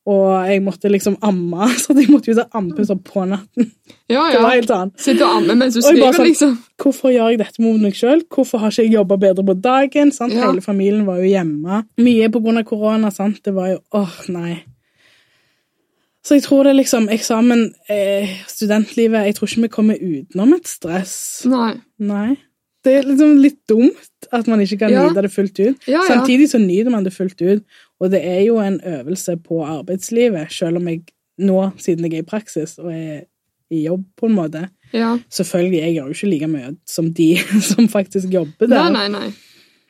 [SPEAKER 1] og jeg måtte liksom amme, så jeg måtte jo ta ammepuster på natten.
[SPEAKER 2] Ja,
[SPEAKER 1] Det var
[SPEAKER 2] ja.
[SPEAKER 1] helt annet.
[SPEAKER 2] Sitte og amme mens du
[SPEAKER 1] Og jeg bare
[SPEAKER 2] skriver,
[SPEAKER 1] sånn-
[SPEAKER 2] liksom.
[SPEAKER 1] Hvorfor gjør jeg dette mot meg sjøl? Hvorfor har ikke jeg jobba bedre på dagen? Sant?
[SPEAKER 2] Ja.
[SPEAKER 1] Hele familien var jo hjemme. Mye pga. korona. sant? Det var jo åh, nei. Så jeg tror det er liksom eksamen, eh, studentlivet Jeg tror ikke vi kommer utenom et stress.
[SPEAKER 2] Nei.
[SPEAKER 1] Nei. Det er liksom litt dumt at man ikke kan
[SPEAKER 2] Ja.
[SPEAKER 1] nyte det fullt ut.
[SPEAKER 2] Ja, ja.
[SPEAKER 1] Samtidig så nyter man det fullt ut, og det er jo en øvelse på arbeidslivet, selv om jeg nå, siden jeg er i praksis og er i jobb, på en måte,
[SPEAKER 2] Ja.
[SPEAKER 1] Selvfølgelig, jeg gjør jo ikke like mye som de som faktisk jobber der.
[SPEAKER 2] Nei, nei, nei.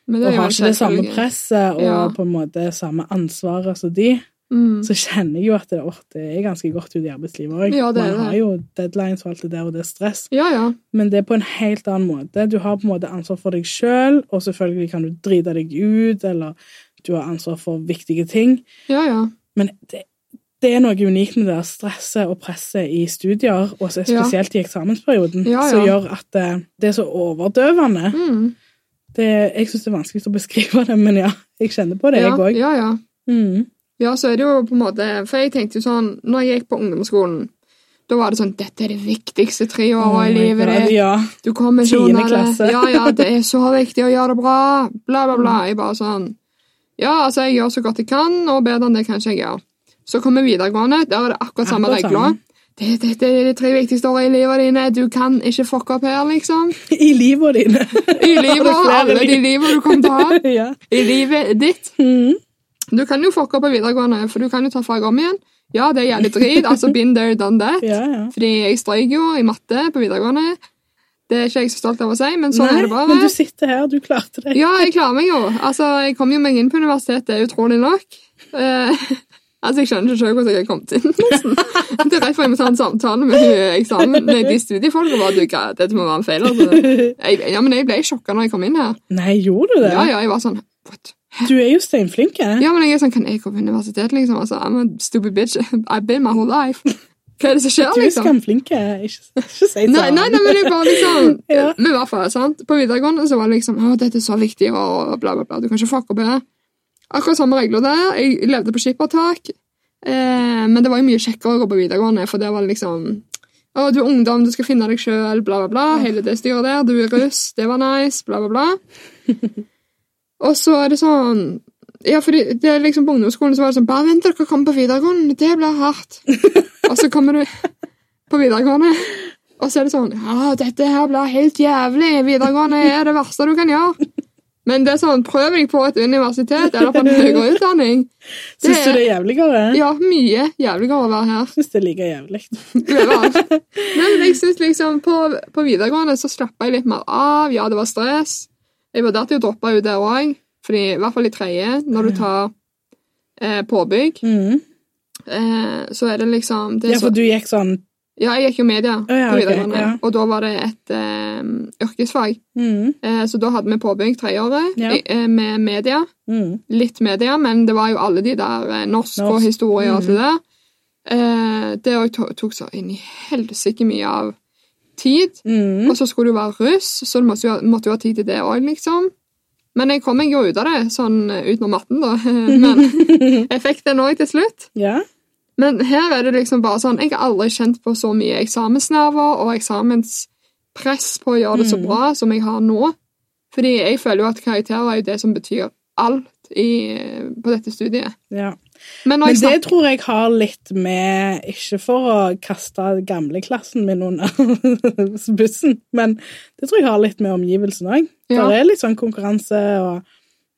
[SPEAKER 2] Men
[SPEAKER 1] Og
[SPEAKER 2] er jo
[SPEAKER 1] har ikke det samme
[SPEAKER 2] selvfølgelig-
[SPEAKER 1] presset og
[SPEAKER 2] Ja.
[SPEAKER 1] på en måte samme ansvaret som de.
[SPEAKER 2] Mm.
[SPEAKER 1] Så kjenner jeg jo at det, åh, det er ganske godt ut i arbeidslivet òg.
[SPEAKER 2] Ja, det er
[SPEAKER 1] Man
[SPEAKER 2] det.
[SPEAKER 1] har jo deadlines og alt det der, og det er stress.
[SPEAKER 2] Ja, ja.
[SPEAKER 1] Men det er på en helt annen måte. Du har på en måte ansvar for deg sjøl, og selvfølgelig kan du drite deg ut, eller du har ansvar for viktige ting.
[SPEAKER 2] Ja, ja.
[SPEAKER 1] Men det, det er noe unikt med det der stresset og presset i studier, og så
[SPEAKER 2] Ja.
[SPEAKER 1] spesielt i eksamensperioden,
[SPEAKER 2] Ja, ja.
[SPEAKER 1] som gjør at det, det er så overdøvende.
[SPEAKER 2] Mm.
[SPEAKER 1] Det, jeg syns det er vanskelig å beskrive det, men ja, jeg kjenner på det,
[SPEAKER 2] ja,
[SPEAKER 1] jeg òg.
[SPEAKER 2] ja, ja.
[SPEAKER 1] Mm.
[SPEAKER 2] Ja, så er det jo på en måte For jeg tenkte jo sånn Når jeg gikk på ungdomsskolen, da var det sånn Dette er det viktigste tre året i
[SPEAKER 1] Oh my
[SPEAKER 2] livet
[SPEAKER 1] God,
[SPEAKER 2] ditt.
[SPEAKER 1] Ja.
[SPEAKER 2] Du kommer ikke
[SPEAKER 1] Tiende
[SPEAKER 2] unna
[SPEAKER 1] klasse.
[SPEAKER 2] det. Ja, ja, det er så viktig å gjøre det bra. Bla, bla, bla. Jeg bare sånn Ja, altså, jeg gjør så godt jeg kan, og bedre enn det kanskje jeg gjør. Så kommer videregående. Der er det akkurat samme
[SPEAKER 1] Akkurat
[SPEAKER 2] regler.
[SPEAKER 1] samme.
[SPEAKER 2] Det, det, det er de tre viktigste årene i livet dine. Du kan ikke fucke opp her, liksom.
[SPEAKER 1] I livet dine.
[SPEAKER 2] I
[SPEAKER 1] Har
[SPEAKER 2] livet,
[SPEAKER 1] du flere
[SPEAKER 2] alle de
[SPEAKER 1] liv?
[SPEAKER 2] livene du kommer til å ha.
[SPEAKER 1] ja.
[SPEAKER 2] I livet ditt.
[SPEAKER 1] Mm.
[SPEAKER 2] Men du kan jo fucke opp på videregående, for du kan jo ta fag om igjen. Ja, det er jævlig drit. altså been there, done that.
[SPEAKER 1] Ja, ja.
[SPEAKER 2] Fordi jeg strøyk jo i matte på videregående. Det er ikke jeg så stolt av å si, men sånn
[SPEAKER 1] Nei,
[SPEAKER 2] er det bare.
[SPEAKER 1] men du sitter her, du klarte det.
[SPEAKER 2] Ja, jeg klarer meg jo. Altså, Jeg kom jo meg inn på universitetet, utrolig nok. Eh, altså, Jeg skjønner ikke selv hvordan jeg har kommet inn. nesten. Det er derfor jeg må ta en samtale med hun eksamen, med de studiefolka. Bare, du, hva, dette må være en feil. Altså. Jeg, ja, men jeg ble sjokka når jeg kom inn her.
[SPEAKER 1] Nei, gjorde du det?
[SPEAKER 2] Ja, ja, jeg var sånn, what?
[SPEAKER 1] Du er jo steinflink. jeg.
[SPEAKER 2] Ja, men jeg er sånn, Kan jeg gå på universitet, liksom? Altså, I'm a stupid bitch. I've been my whole life. Hva er det som skjer,
[SPEAKER 1] Du er
[SPEAKER 2] liksom?
[SPEAKER 1] skamflink. jeg. Ikke, ikke si sånn.
[SPEAKER 2] Nei, nei, nei, men jeg bare liksom
[SPEAKER 1] Ja.
[SPEAKER 2] Men i hvert fall, sant? På videregående så var det liksom Å, dette er så viktig, og bla, bla, bla. Du kan ikke fucke opp i det. Akkurat samme regler der. Jeg levde på skippertak. Eh, men det var jo mye kjekkere å gå på videregående, for der var det liksom Å, du er ungdom, du skal finne deg sjøl, bla, bla, bla. Hele det styret der. Du er russ, det var nice, bla, bla, bla. Og så er det sånn ja, fordi det er liksom På ungdomsskolen så var det sånn Bare vent til dere kommer på videregående. Det blir hardt. og så kommer du på videregående, og så er det sånn Ja, dette her blir helt jævlig. Videregående er det verste du kan gjøre. Men det er sånn, prøv deg på et universitet eller på en høyere utdanning.
[SPEAKER 1] Syns du
[SPEAKER 2] er-
[SPEAKER 1] det er jævligere?
[SPEAKER 2] Ja, mye jævligere å være her.
[SPEAKER 1] Jeg syns det er like jævlig.
[SPEAKER 2] Overalt. Nei, men jeg synes liksom på, på videregående så slappet jeg litt mer av. Ja, det var stress. Jeg vurderte jo å droppe ut der òg, Fordi, i hvert fall i tredje, når du tar eh, påbygg,
[SPEAKER 1] Mm.
[SPEAKER 2] eh, så er det liksom det
[SPEAKER 1] Ja,
[SPEAKER 2] er
[SPEAKER 1] for
[SPEAKER 2] så,
[SPEAKER 1] du gikk sånn
[SPEAKER 2] ja, jeg gikk jo media
[SPEAKER 1] Å, ja,
[SPEAKER 2] på
[SPEAKER 1] ok,
[SPEAKER 2] videregående,
[SPEAKER 1] ja.
[SPEAKER 2] og da var det et eh, yrkesfag.
[SPEAKER 1] mm.
[SPEAKER 2] Eh, så da hadde vi påbygg tredjeåret
[SPEAKER 1] Ja.
[SPEAKER 2] i- eh, med media.
[SPEAKER 1] Mm.
[SPEAKER 2] Litt media, men det var jo alle de der eh, norsk, og
[SPEAKER 1] Norsk. Mm.
[SPEAKER 2] historie og alt det der. Eh, det òg to- tok så inn i helsike mye av tid.
[SPEAKER 1] Mm.
[SPEAKER 2] Og så skulle du være russ, så du måtte jo, ha- måtte jo ha tid til det òg, liksom. Men jeg kom meg jo ut av det, sånn eh, utenom matten, da. Men jeg fikk den òg til slutt.
[SPEAKER 1] Ja.
[SPEAKER 2] Men her er det liksom bare sånn Jeg har aldri kjent på så mye eksamensnerver og eksamenspress på å gjøre det så
[SPEAKER 1] Mm.
[SPEAKER 2] bra som jeg har nå. Fordi jeg føler jo at karakterer er jo det som betyr alt i, på dette studiet.
[SPEAKER 1] ja.
[SPEAKER 2] Men når
[SPEAKER 1] Men
[SPEAKER 2] jeg
[SPEAKER 1] det
[SPEAKER 2] snakker
[SPEAKER 1] tror jeg har litt med Ikke for å kaste gamleklassen min under bussen, men det tror jeg har litt med omgivelsen òg.
[SPEAKER 2] Ja.
[SPEAKER 1] Det er litt sånn konkurranse og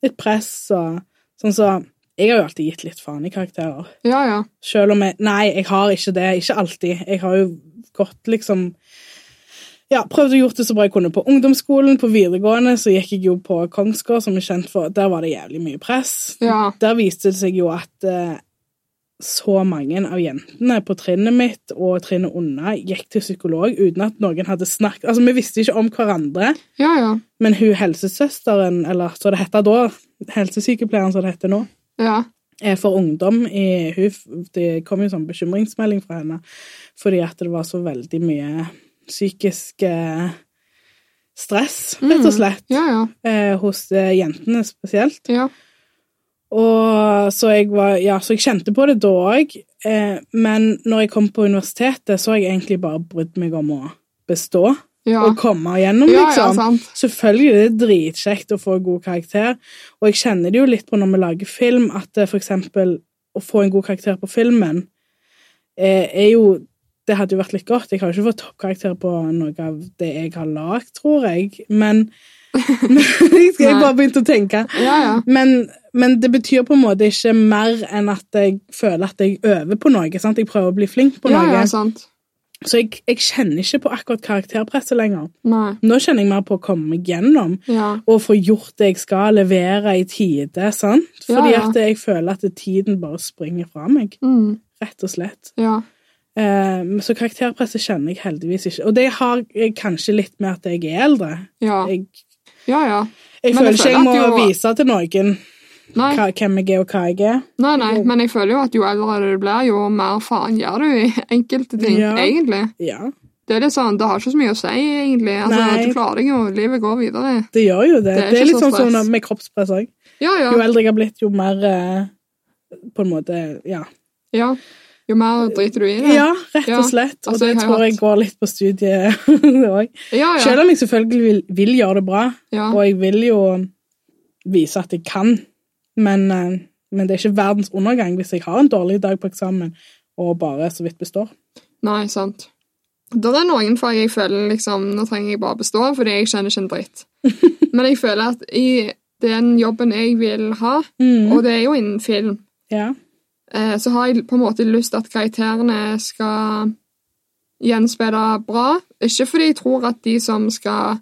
[SPEAKER 1] litt press og sånn så Jeg har jo alltid gitt litt faen i karakterer.
[SPEAKER 2] Ja, ja.
[SPEAKER 1] Selv om jeg Nei, jeg har ikke det. Ikke alltid. Jeg har jo gått liksom ja, prøvd å gjort det så bra jeg kunne på ungdomsskolen. På videregående så gikk jeg jo på Kongsgård, som er kjent for Der var det jævlig mye press.
[SPEAKER 2] ja.
[SPEAKER 1] Der viste det seg jo at eh, så mange av jentene på trinnet mitt og trinnet unna gikk til psykolog uten at noen hadde snakket Altså, vi visste ikke om hverandre.
[SPEAKER 2] Ja, ja.
[SPEAKER 1] Men hun helsesøsteren, eller så det heter da, helsesykepleieren som det heter nå,
[SPEAKER 2] ja.
[SPEAKER 1] eh, for ungdom i hun, f- Det kom jo sånn bekymringsmelding fra henne fordi at det var så veldig mye psykisk eh, stress, rett og slett,
[SPEAKER 2] Mm. Ja, ja.
[SPEAKER 1] eh, hos eh, jentene spesielt.
[SPEAKER 2] Ja,
[SPEAKER 1] Og så jeg, var, ja, så jeg kjente på det da òg, eh, men når jeg kom på universitetet, så har jeg egentlig bare brydd meg om å bestå
[SPEAKER 2] ja.
[SPEAKER 1] og komme gjennom,
[SPEAKER 2] ja, ja
[SPEAKER 1] liksom.
[SPEAKER 2] sant.
[SPEAKER 1] Selvfølgelig det er det dritkjekt å få god karakter, og jeg kjenner det jo litt på når vi lager film, at eh, for eksempel å få en god karakter på filmen eh, er jo Det hadde jo vært litt godt. Jeg har jo ikke fått toppkarakter på noe av det jeg har lagd, tror jeg, men, men Jeg skal
[SPEAKER 2] Nei.
[SPEAKER 1] bare begynte å tenke.
[SPEAKER 2] Ja, ja.
[SPEAKER 1] Men, men det betyr på en måte ikke mer enn at jeg føler at jeg øver på noe. sant? Jeg prøver å bli flink på
[SPEAKER 2] Ja, altså.
[SPEAKER 1] noe.
[SPEAKER 2] ja, sant.
[SPEAKER 1] Så jeg, jeg kjenner ikke på akkurat karakterpresset lenger.
[SPEAKER 2] Nei.
[SPEAKER 1] Nå kjenner jeg mer på å komme meg gjennom
[SPEAKER 2] Ja.
[SPEAKER 1] og få gjort det jeg skal, levere i tide. sant?
[SPEAKER 2] Ja,
[SPEAKER 1] Fordi
[SPEAKER 2] ja.
[SPEAKER 1] at jeg føler at tiden bare springer fra meg,
[SPEAKER 2] Mm.
[SPEAKER 1] rett og slett.
[SPEAKER 2] Ja.
[SPEAKER 1] Eh, så karakterpresset kjenner jeg heldigvis ikke. Og det har jeg kanskje litt med at jeg er eldre.
[SPEAKER 2] Ja.
[SPEAKER 1] Jeg,
[SPEAKER 2] Ja, ja.
[SPEAKER 1] jeg
[SPEAKER 2] Men
[SPEAKER 1] føler
[SPEAKER 2] jeg
[SPEAKER 1] ikke jeg må
[SPEAKER 2] føler at jo-
[SPEAKER 1] vise til noen
[SPEAKER 2] Nei.
[SPEAKER 1] hva, hvem jeg er, og hva jeg er.
[SPEAKER 2] Nei, nei, men jeg føler jo at jo eldre du blir, jo mer faen gjør du i enkelte ting,
[SPEAKER 1] Ja.
[SPEAKER 2] egentlig.
[SPEAKER 1] Ja.
[SPEAKER 2] Det er litt sånn, det har ikke så mye å si, egentlig. Altså,
[SPEAKER 1] Nei.
[SPEAKER 2] Du klarer deg jo, livet går videre.
[SPEAKER 1] Det gjør jo det. Det
[SPEAKER 2] Det
[SPEAKER 1] er,
[SPEAKER 2] er ikke
[SPEAKER 1] litt
[SPEAKER 2] så
[SPEAKER 1] sånn som
[SPEAKER 2] stress.
[SPEAKER 1] med kroppspress òg.
[SPEAKER 2] Ja,
[SPEAKER 1] Jo
[SPEAKER 2] ja.
[SPEAKER 1] eldre jeg har blitt, jo mer eh, På en måte Ja,
[SPEAKER 2] ja. Jo mer driter du i det.
[SPEAKER 1] ja rett
[SPEAKER 2] Ja,
[SPEAKER 1] og slett. Og
[SPEAKER 2] altså,
[SPEAKER 1] det
[SPEAKER 2] jeg har jo
[SPEAKER 1] tror jeg
[SPEAKER 2] hatt-
[SPEAKER 1] går litt på studiet òg.
[SPEAKER 2] ja. ja.
[SPEAKER 1] Selv om jeg selvfølgelig vil, vil gjøre det bra,
[SPEAKER 2] ja.
[SPEAKER 1] og jeg vil jo vise at jeg kan, men, eh, men det er ikke verdens undergang hvis jeg har en dårlig dag på eksamen og bare så vidt består.
[SPEAKER 2] Nei, sant. Da er det noen fag jeg føler liksom, nå trenger jeg bare bestå, fordi jeg skjønner ikke en dritt. Men jeg føler at i den jobben jeg vil ha,
[SPEAKER 1] Mm.
[SPEAKER 2] og det er jo innen film,
[SPEAKER 1] ja.
[SPEAKER 2] eh, så har jeg på en måte lyst til at karakterene skal gjenspeile bra. Ikke fordi jeg tror at de som skal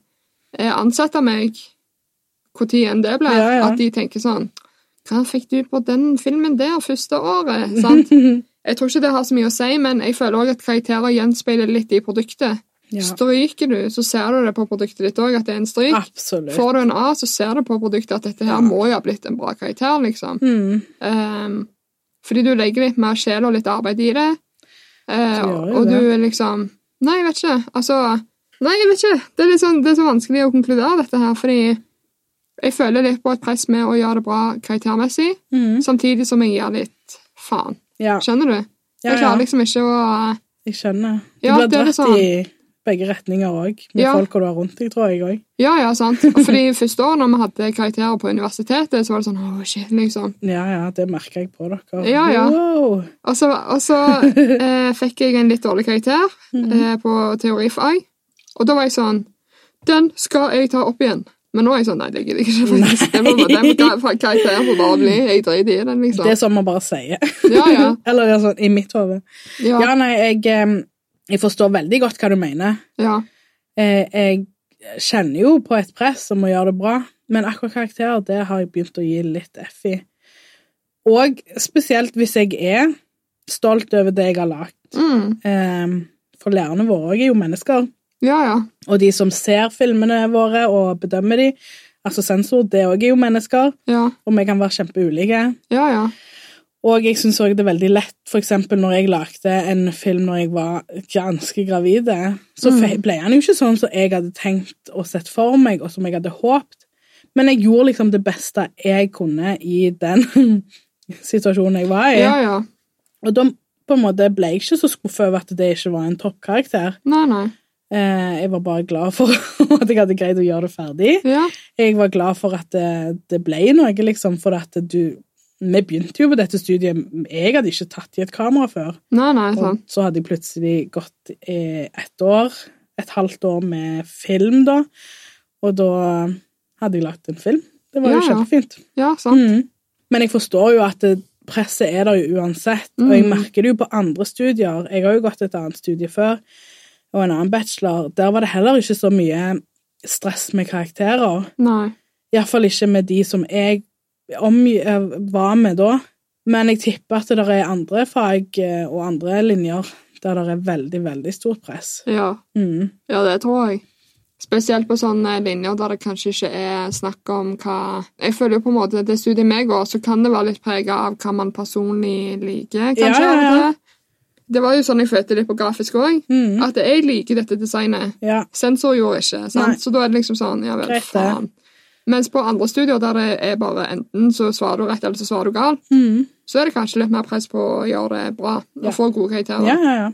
[SPEAKER 2] eh, ansette meg, hvor tid enn det blir,
[SPEAKER 1] Ja, ja.
[SPEAKER 2] at de tenker sånn Hva fikk du på den filmen der første året? Sant? Jeg tror ikke det har så mye å si, men jeg føler òg at karakterer gjenspeiler litt i produktet.
[SPEAKER 1] ja.
[SPEAKER 2] Stryker du, så ser du det på produktet ditt òg, at det er en stryk.
[SPEAKER 1] Absolutt.
[SPEAKER 2] Får du en A, så ser du på produktet at dette her
[SPEAKER 1] Ja.
[SPEAKER 2] må jo ha blitt en bra karakter, liksom.
[SPEAKER 1] Mm.
[SPEAKER 2] Ehm, fordi du legger litt mer sjel og litt arbeid i det.
[SPEAKER 1] Så
[SPEAKER 2] Eh,
[SPEAKER 1] gjør
[SPEAKER 2] og
[SPEAKER 1] jeg
[SPEAKER 2] og
[SPEAKER 1] det.
[SPEAKER 2] du er liksom Nei, jeg vet ikke. Altså Nei, jeg vet ikke. Det er, litt sånn, det er så vanskelig å konkludere dette her, fordi jeg føler litt på et press med å gjøre det bra karaktermessig,
[SPEAKER 1] Mm.
[SPEAKER 2] samtidig som jeg gir litt faen.
[SPEAKER 1] Ja.
[SPEAKER 2] Skjønner du?
[SPEAKER 1] Ja,
[SPEAKER 2] Jeg
[SPEAKER 1] ja,
[SPEAKER 2] klarer liksom ikke å
[SPEAKER 1] jeg skjønner. Du
[SPEAKER 2] Ja,
[SPEAKER 1] blir
[SPEAKER 2] det er
[SPEAKER 1] dratt
[SPEAKER 2] det sånn.
[SPEAKER 1] i begge retninger òg, med
[SPEAKER 2] Ja.
[SPEAKER 1] folka du har rundt deg, tror jeg òg.
[SPEAKER 2] Ja, ja, sant. Og Fordi første år når vi hadde karakterer på universitetet, så var det sånn åh, shit, liksom.
[SPEAKER 1] Ja, ja, det merker jeg på dere.
[SPEAKER 2] Ja, ja.
[SPEAKER 1] Wow.
[SPEAKER 2] Og så, og så eh, fikk jeg en litt dårlig karakter eh, på teorifag. Og da var jeg sånn Den skal jeg ta opp igjen. Men nå er jeg sånn Nei, det gidder jeg ikke. faktisk. Den, må, den ka- karakteren får bare bli. Jeg driter i den, liksom.
[SPEAKER 1] Det er sånn man bare sier.
[SPEAKER 2] Ja, ja.
[SPEAKER 1] Eller det er sånn i mitt hode.
[SPEAKER 2] Ja,
[SPEAKER 1] Ja, nei, jeg, em, jeg forstår veldig godt hva du mener.
[SPEAKER 2] ja.
[SPEAKER 1] Eh, Jeg kjenner jo på et press om å gjøre det bra, men akkurat karakterer, det har jeg begynt å gi litt F i. Og spesielt hvis jeg er stolt over det jeg har lagt.
[SPEAKER 2] Mm.
[SPEAKER 1] Em, For lærerne våre er jo mennesker,
[SPEAKER 2] Ja, ja.
[SPEAKER 1] og de som ser filmene våre og bedømmer de, altså sensor, det òg er jo mennesker,
[SPEAKER 2] Ja,
[SPEAKER 1] og vi kan være kjempeulike.
[SPEAKER 2] ja. ja.
[SPEAKER 1] Og jeg syns òg det er veldig lett, for eksempel når jeg lagde en film når jeg var ganske gravid, eh, så
[SPEAKER 2] Mm.
[SPEAKER 1] fe- ble han jo ikke sånn som jeg hadde tenkt og sett for meg, og som jeg hadde håpt. Men jeg gjorde liksom det beste jeg kunne i den situasjonen jeg var i.
[SPEAKER 2] Ja, ja.
[SPEAKER 1] Og da på en måte ble jeg ikke så skuffet over at det ikke var en toppkarakter.
[SPEAKER 2] Nei, nei.
[SPEAKER 1] Eh, Jeg var bare glad for at jeg hadde greid å gjøre det ferdig
[SPEAKER 2] Ja,
[SPEAKER 1] jeg var glad for at det, det ble noe, liksom, for at du Vi begynte jo på dette studiet, jeg hadde ikke tatt i et kamera før.
[SPEAKER 2] nei, nei, sånn.
[SPEAKER 1] Og
[SPEAKER 2] sant.
[SPEAKER 1] så hadde jeg plutselig gått eh, et år, et halvt år med film, da. Og da hadde jeg lagt en film. Det var jo
[SPEAKER 2] Ja, ja.
[SPEAKER 1] kjempefint.
[SPEAKER 2] Ja, sånn. sant.
[SPEAKER 1] Mm. Men jeg forstår jo at det, presset er der jo uansett, og jeg
[SPEAKER 2] Mm.
[SPEAKER 1] merker det jo på andre studier. Jeg har jo gått et annet studie før, og en annen bachelor. Der var det heller ikke så mye stress med karakterer.
[SPEAKER 2] Nei.
[SPEAKER 1] Iallfall ikke med de som jeg omg eh, var med da. Men jeg tipper at det er andre fag eh, og andre linjer der det er veldig, veldig stort press.
[SPEAKER 2] Ja.
[SPEAKER 1] Mm.
[SPEAKER 2] Ja, det tror jeg. Spesielt på sånne linjer der det kanskje ikke er snakk om hva Jeg føler jo på en måte at det studiet vi går, så kan det være litt prega av hva man personlig liker. kanskje.
[SPEAKER 1] Ja, ja, ja.
[SPEAKER 2] av og til. Det var jo sånn jeg følte litt på grafisk òg.
[SPEAKER 1] Mm.
[SPEAKER 2] At jeg liker dette designet.
[SPEAKER 1] Ja.
[SPEAKER 2] Sensor gjorde ikke.
[SPEAKER 1] Nei.
[SPEAKER 2] sant? Så da er det liksom sånn Ja vel,
[SPEAKER 1] Greit det.
[SPEAKER 2] faen. Mens på andre studier der det er bare enten så svarer du rett, eller så svarer du galt,
[SPEAKER 1] Mm.
[SPEAKER 2] så er det kanskje litt mer press på å gjøre det bra og
[SPEAKER 1] Ja.
[SPEAKER 2] få gode karakterer.
[SPEAKER 1] ja, ja, ja.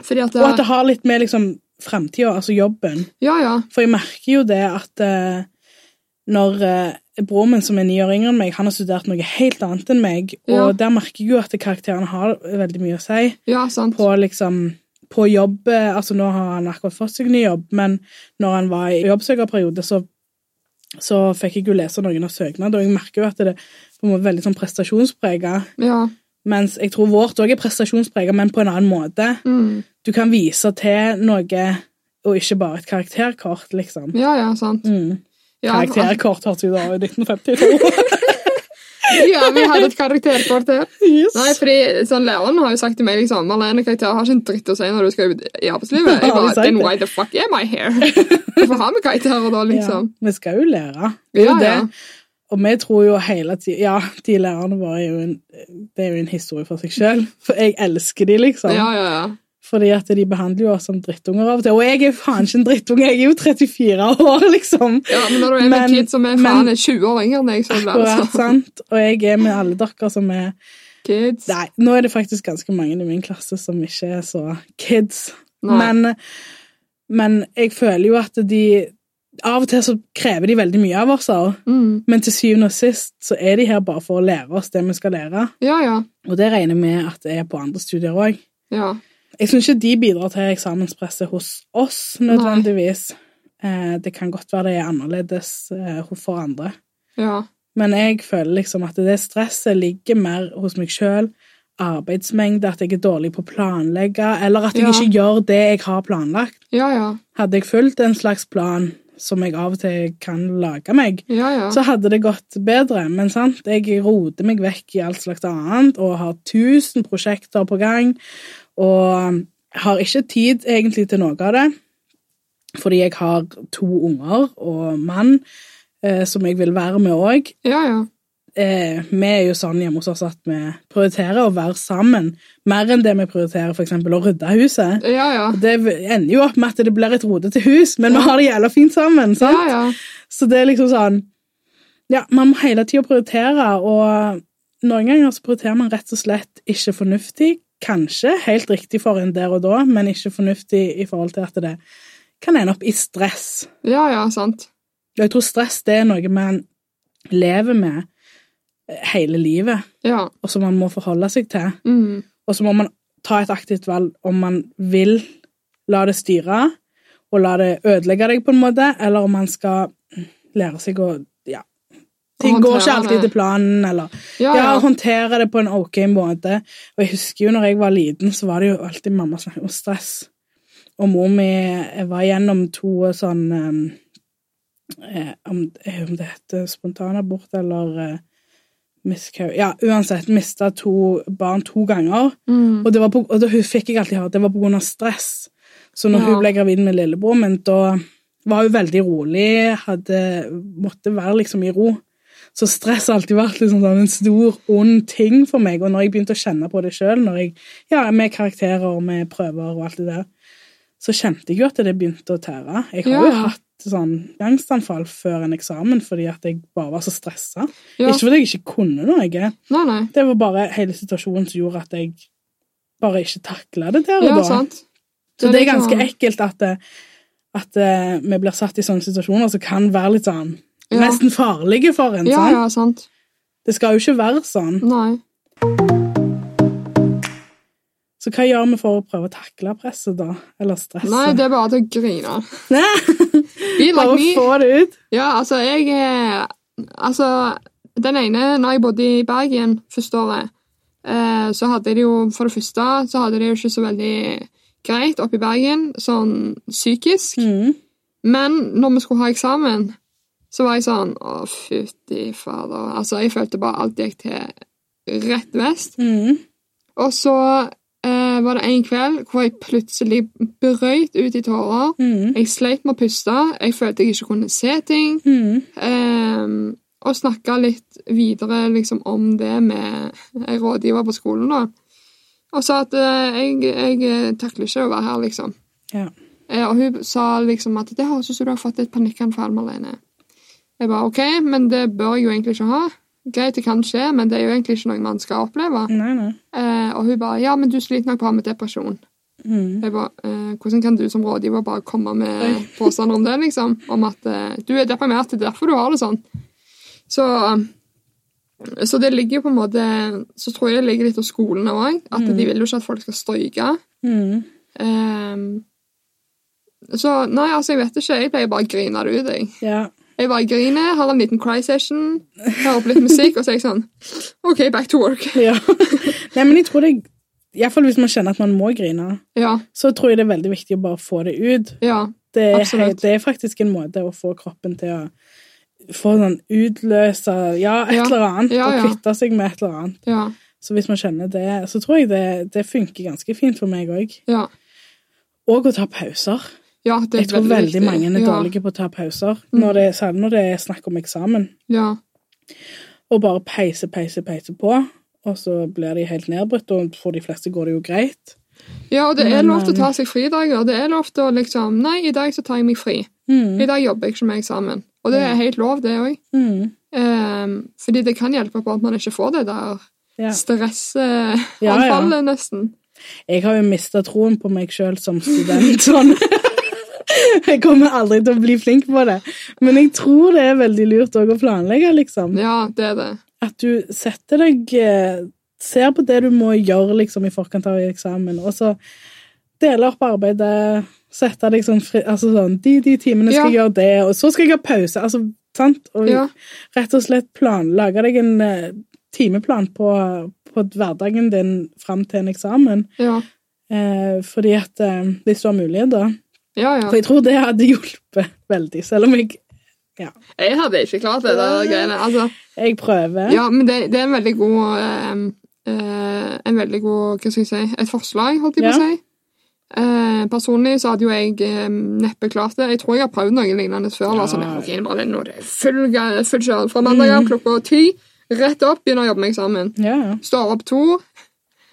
[SPEAKER 2] Fordi at
[SPEAKER 1] Og at
[SPEAKER 2] det,
[SPEAKER 1] det har litt med liksom framtida, altså jobben.
[SPEAKER 2] Ja, ja.
[SPEAKER 1] For jeg merker jo det at eh, når eh, broren min, som er ni år yngre enn meg, han har studert noe helt annet enn meg,
[SPEAKER 2] Ja.
[SPEAKER 1] og der merker jeg jo at karakterene har veldig mye å si.
[SPEAKER 2] Ja, sant.
[SPEAKER 1] på liksom på jobb eh, Altså, nå har han akkurat fått seg ny jobb, men når han var i jobbsøkerperiode, så, så fikk jeg jo lese noen av søknadene, og jeg merker jo at det er på en måte veldig sånn prestasjonsprega.
[SPEAKER 2] Ja.
[SPEAKER 1] Mens jeg tror vårt òg er prestasjonsprega, men på en annen måte.
[SPEAKER 2] Mm.
[SPEAKER 1] Du kan vise til noe, og ikke bare et karakterkort, liksom.
[SPEAKER 2] Ja, ja, sant.
[SPEAKER 1] Mm.
[SPEAKER 2] Ja, at-
[SPEAKER 1] Karakterkort hørtes jo da i 1952.
[SPEAKER 2] ja, vi hadde et karakterkort her.
[SPEAKER 1] yes.
[SPEAKER 2] Nei, fordi sånn, Læreren har jo sagt til meg liksom, Marlene, karakterer har ikke en dritt å si når du skal ut i arbeidslivet. Jeg
[SPEAKER 1] Har du
[SPEAKER 2] bare,
[SPEAKER 1] sagt
[SPEAKER 2] then
[SPEAKER 1] det?
[SPEAKER 2] why the fuck am I here? Hvorfor har vi karakterer da, liksom?
[SPEAKER 1] Ja, vi skal jo lære. Det er jo
[SPEAKER 2] Ja, ja.
[SPEAKER 1] det. Og vi tror jo hele tiden Ja, de lærerne våre er jo en, det er jo en historie for seg sjøl. For jeg elsker de, liksom.
[SPEAKER 2] Ja, ja, ja.
[SPEAKER 1] Fordi at de behandler jo oss som drittunger av og til. Og jeg er jo faen ikke en drittunge, jeg er jo 34 år, liksom.
[SPEAKER 2] ja. Men når du er med
[SPEAKER 1] Men-
[SPEAKER 2] en kid som er
[SPEAKER 1] men-
[SPEAKER 2] faen er 20 år yngre enn deg, så er det
[SPEAKER 1] Akkurat,
[SPEAKER 2] altså
[SPEAKER 1] sant? Og jeg er med alle dere som er
[SPEAKER 2] kids.
[SPEAKER 1] Nei, nå er det faktisk ganske mange i min klasse som ikke er så kids.
[SPEAKER 2] Nei.
[SPEAKER 1] Men, men jeg føler jo at de Av og til så krever de veldig mye av oss. Også.
[SPEAKER 2] Mm.
[SPEAKER 1] Men til syvende og sist så er de her bare for å lære oss det vi skal lære.
[SPEAKER 2] Ja, ja.
[SPEAKER 1] Og det regner jeg med at det er på andre studier òg.
[SPEAKER 2] Ja.
[SPEAKER 1] Jeg syns ikke de bidrar til eksamenspresset hos oss nødvendigvis. Eh, det kan godt være det er annerledes eh, for andre.
[SPEAKER 2] Ja.
[SPEAKER 1] Men jeg føler liksom at det stresset ligger mer hos meg sjøl. Arbeidsmengde, at jeg er dårlig på å planlegge, eller at jeg
[SPEAKER 2] Ja.
[SPEAKER 1] ikke gjør det jeg har planlagt.
[SPEAKER 2] Ja, ja.
[SPEAKER 1] Hadde jeg fulgt en slags plan, som jeg av og til kan lage meg,
[SPEAKER 2] Ja, ja.
[SPEAKER 1] så hadde det gått bedre. Men sant, jeg roter meg vekk i alt slags annet og har tusen prosjekter på gang. Og har ikke tid egentlig til noe av det, fordi jeg har to unger og mann eh, som jeg vil være med òg.
[SPEAKER 2] ja, ja.
[SPEAKER 1] Eh, vi er jo sånn hjemme hos oss at vi prioriterer å være sammen mer enn det vi prioriterer f.eks. å rydde huset.
[SPEAKER 2] Ja, ja.
[SPEAKER 1] Det ender jo opp med at det blir et rodete hus, men vi har det jævla fint sammen. sant?
[SPEAKER 2] Ja, ja.
[SPEAKER 1] Så det er liksom sånn Ja, man må hele tida prioritere, og noen ganger så prioriterer man rett og slett ikke fornuftig. Kanskje helt riktig for en der og da, men ikke fornuftig i forhold til at det kan ende opp i stress.
[SPEAKER 2] Ja, ja, sant.
[SPEAKER 1] Og jeg tror stress det er noe man lever med hele livet,
[SPEAKER 2] Ja.
[SPEAKER 1] og som man må forholde seg til.
[SPEAKER 2] Mm.
[SPEAKER 1] Og så må man ta et aktivt valg om man vil la det styre og la det ødelegge deg, på en måte, eller om man skal lære seg å ja, Ting går ikke
[SPEAKER 2] håndtere
[SPEAKER 1] alltid
[SPEAKER 2] det.
[SPEAKER 1] til planen, eller
[SPEAKER 2] Ja,
[SPEAKER 1] ja,
[SPEAKER 2] ja.
[SPEAKER 1] håndtere det på en ok måte. Og jeg husker jo når jeg var liten, så var det jo alltid mamma snakket om stress. Og mor mi var gjennom to sånn eh, om, eh, om det heter spontanabort eller eh, miscarriage Ja, uansett, mista to barn to ganger.
[SPEAKER 2] Mm.
[SPEAKER 1] Og, det var på, og da hu- fikk jeg alltid høre at det var på grunn av stress. Så når
[SPEAKER 2] Ja.
[SPEAKER 1] hun ble gravid med lillebror min, da var hun veldig rolig, hadde, måtte være liksom i ro. Så stress har alltid vært liksom sånn en stor, ond ting for meg. Og når jeg begynte å kjenne på det sjøl, ja, med karakterer og med prøver og alt det der, så kjente jeg jo at det begynte å tære. Jeg har
[SPEAKER 2] Ja.
[SPEAKER 1] jo hatt sånn angstanfall før en eksamen fordi at jeg bare var så stressa.
[SPEAKER 2] Ja.
[SPEAKER 1] Ikke fordi jeg ikke kunne noe.
[SPEAKER 2] Nei, nei.
[SPEAKER 1] Det var bare hele situasjonen som gjorde at jeg bare ikke takla det der og
[SPEAKER 2] Ja,
[SPEAKER 1] da.
[SPEAKER 2] sant.
[SPEAKER 1] så det er ganske
[SPEAKER 2] sånn-
[SPEAKER 1] ekkelt at, det- at eh, vi blir satt i sånne situasjoner som kan være litt sånn
[SPEAKER 2] Ja.
[SPEAKER 1] Nesten farlige for en.
[SPEAKER 2] Ja,
[SPEAKER 1] sant?
[SPEAKER 2] ja, sant.
[SPEAKER 1] Det skal jo ikke være sånn.
[SPEAKER 2] Nei.
[SPEAKER 1] Så hva gjør vi for å prøve å takle presset, da? Eller stresset?
[SPEAKER 2] Nei, det er bare til å grine. Be
[SPEAKER 1] bare
[SPEAKER 2] like me.
[SPEAKER 1] få det ut.
[SPEAKER 2] Ja, altså, jeg eh, Altså, den ene Når jeg bodde i Bergen første året, eh, så hadde de jo For det første så hadde de jo ikke så veldig greit oppe i Bergen, sånn psykisk.
[SPEAKER 1] Mm.
[SPEAKER 2] Men når vi skulle ha eksamen, så var jeg sånn Å, fytti fader. Altså, jeg følte bare alt gikk til rett vest.
[SPEAKER 1] Mm.
[SPEAKER 2] Og så eh, var det en kveld hvor jeg plutselig brøyt ut i tårer.
[SPEAKER 1] Mm.
[SPEAKER 2] Jeg sleit med å puste, jeg følte jeg ikke kunne se ting.
[SPEAKER 1] Mm.
[SPEAKER 2] ehm, og snakka litt videre liksom, om det med en rådgiver på skolen. da. Og sa at eh, jeg, jeg takler ikke å være her, liksom.
[SPEAKER 1] Ja.
[SPEAKER 2] Eh, og hun sa liksom at det høres ut som du har fått et panikkanfall, Marlene. Jeg bare OK, men det bør jeg jo egentlig ikke ha. Greit, det kan skje, men det er jo egentlig ikke noe man skal oppleve.
[SPEAKER 1] Nei, nei.
[SPEAKER 2] Eh, og hun bare ja, men du sliter nok bare med depresjon.
[SPEAKER 1] Mm.
[SPEAKER 2] Jeg bare, eh, hvordan kan du som rådgiver bare komme med påstander om det, liksom? Om at eh, du er deprimert, det er derfor du har det sånn. Så, eh, så det ligger på en måte Så tror jeg det ligger litt hos skolene òg. At de vil jo ikke at folk skal stryke.
[SPEAKER 1] Mm.
[SPEAKER 2] Ehm, så nei, altså, jeg vet ikke. Jeg pleier bare å grine det ut, jeg.
[SPEAKER 1] Ja.
[SPEAKER 2] Jeg bare griner, har en liten cry session, hører på litt musikk, og så er jeg sånn OK, back to work.
[SPEAKER 1] ja. Nei, men jeg tror det Iallfall hvis man kjenner at man må grine,
[SPEAKER 2] Ja.
[SPEAKER 1] så tror jeg det er veldig viktig å bare få det ut.
[SPEAKER 2] Ja.
[SPEAKER 1] Det er,
[SPEAKER 2] Absolutt.
[SPEAKER 1] helt, det er faktisk en måte å få kroppen til å få sånn utløse ja, et
[SPEAKER 2] Ja.
[SPEAKER 1] eller annet,
[SPEAKER 2] Ja, ja.
[SPEAKER 1] og kvitte seg med et eller annet.
[SPEAKER 2] Ja.
[SPEAKER 1] Så hvis man kjenner det, så tror jeg det, det funker ganske fint for meg òg.
[SPEAKER 2] Ja.
[SPEAKER 1] Og å ta pauser.
[SPEAKER 2] ja det er
[SPEAKER 1] Jeg tror veldig
[SPEAKER 2] viktig.
[SPEAKER 1] mange er
[SPEAKER 2] ja. Mm.
[SPEAKER 1] dårlige på å ta pauser, når det, særlig når det er snakk om eksamen.
[SPEAKER 2] Ja.
[SPEAKER 1] Og bare peise, peise, peise på, og så blir de helt nedbrutt, og for de fleste går det jo greit.
[SPEAKER 2] Ja, og det er
[SPEAKER 1] Men, eh,
[SPEAKER 2] lov til å ta seg fridager. Det er lov til å liksom Nei, i dag så tar jeg meg fri.
[SPEAKER 1] Mm,
[SPEAKER 2] I dag jobber jeg ikke med eksamen. Og det er helt lov, det òg.
[SPEAKER 1] mm,
[SPEAKER 2] Um, fordi det kan hjelpe på at man ikke får det der
[SPEAKER 1] ja.
[SPEAKER 2] stressanfallet,
[SPEAKER 1] Ja, ja.
[SPEAKER 2] nesten.
[SPEAKER 1] Jeg har jo mista troen på meg sjøl som student. Sånn. Jeg kommer aldri til å bli flink på det, men jeg tror det er veldig lurt også å planlegge. liksom.
[SPEAKER 2] Ja, det er det.
[SPEAKER 1] At du setter deg eh, Ser på det du må gjøre liksom, i forkant av eksamen, og så dele opp arbeidet. Sette deg sånn fri altså sånn, De de timene skal jeg gjøre det, og så skal jeg ha pause. altså sant? Og
[SPEAKER 2] Ja.
[SPEAKER 1] rett og slett plan, lage deg en eh, timeplan på, på hverdagen din fram til en eksamen.
[SPEAKER 2] Ja,
[SPEAKER 1] Eh, fordi at eh, Hvis du har mulighet, da.
[SPEAKER 2] ja. ja.
[SPEAKER 1] For jeg tror det hadde hjulpet veldig, selv om jeg,
[SPEAKER 2] Jeg hadde ikke klart det der greiene. Altså,
[SPEAKER 1] jeg prøver.
[SPEAKER 2] ja, men det, det er en veldig god ehm, eh, En veldig god Hva skal jeg si Et forslag, holdt jeg på
[SPEAKER 1] Ja.
[SPEAKER 2] å si. Eh, personlig så hadde jo jeg ehm, neppe klart det. Jeg tror jeg har prøvd noe lignende før. Bare
[SPEAKER 1] Ja. Mm.
[SPEAKER 2] sånn, ok, det er bare når det er full, ga- full kjør. Fra mandag av klokka ti, rett opp, begynner å jobbe med eksamen.
[SPEAKER 1] Ja, ja.
[SPEAKER 2] Står opp to,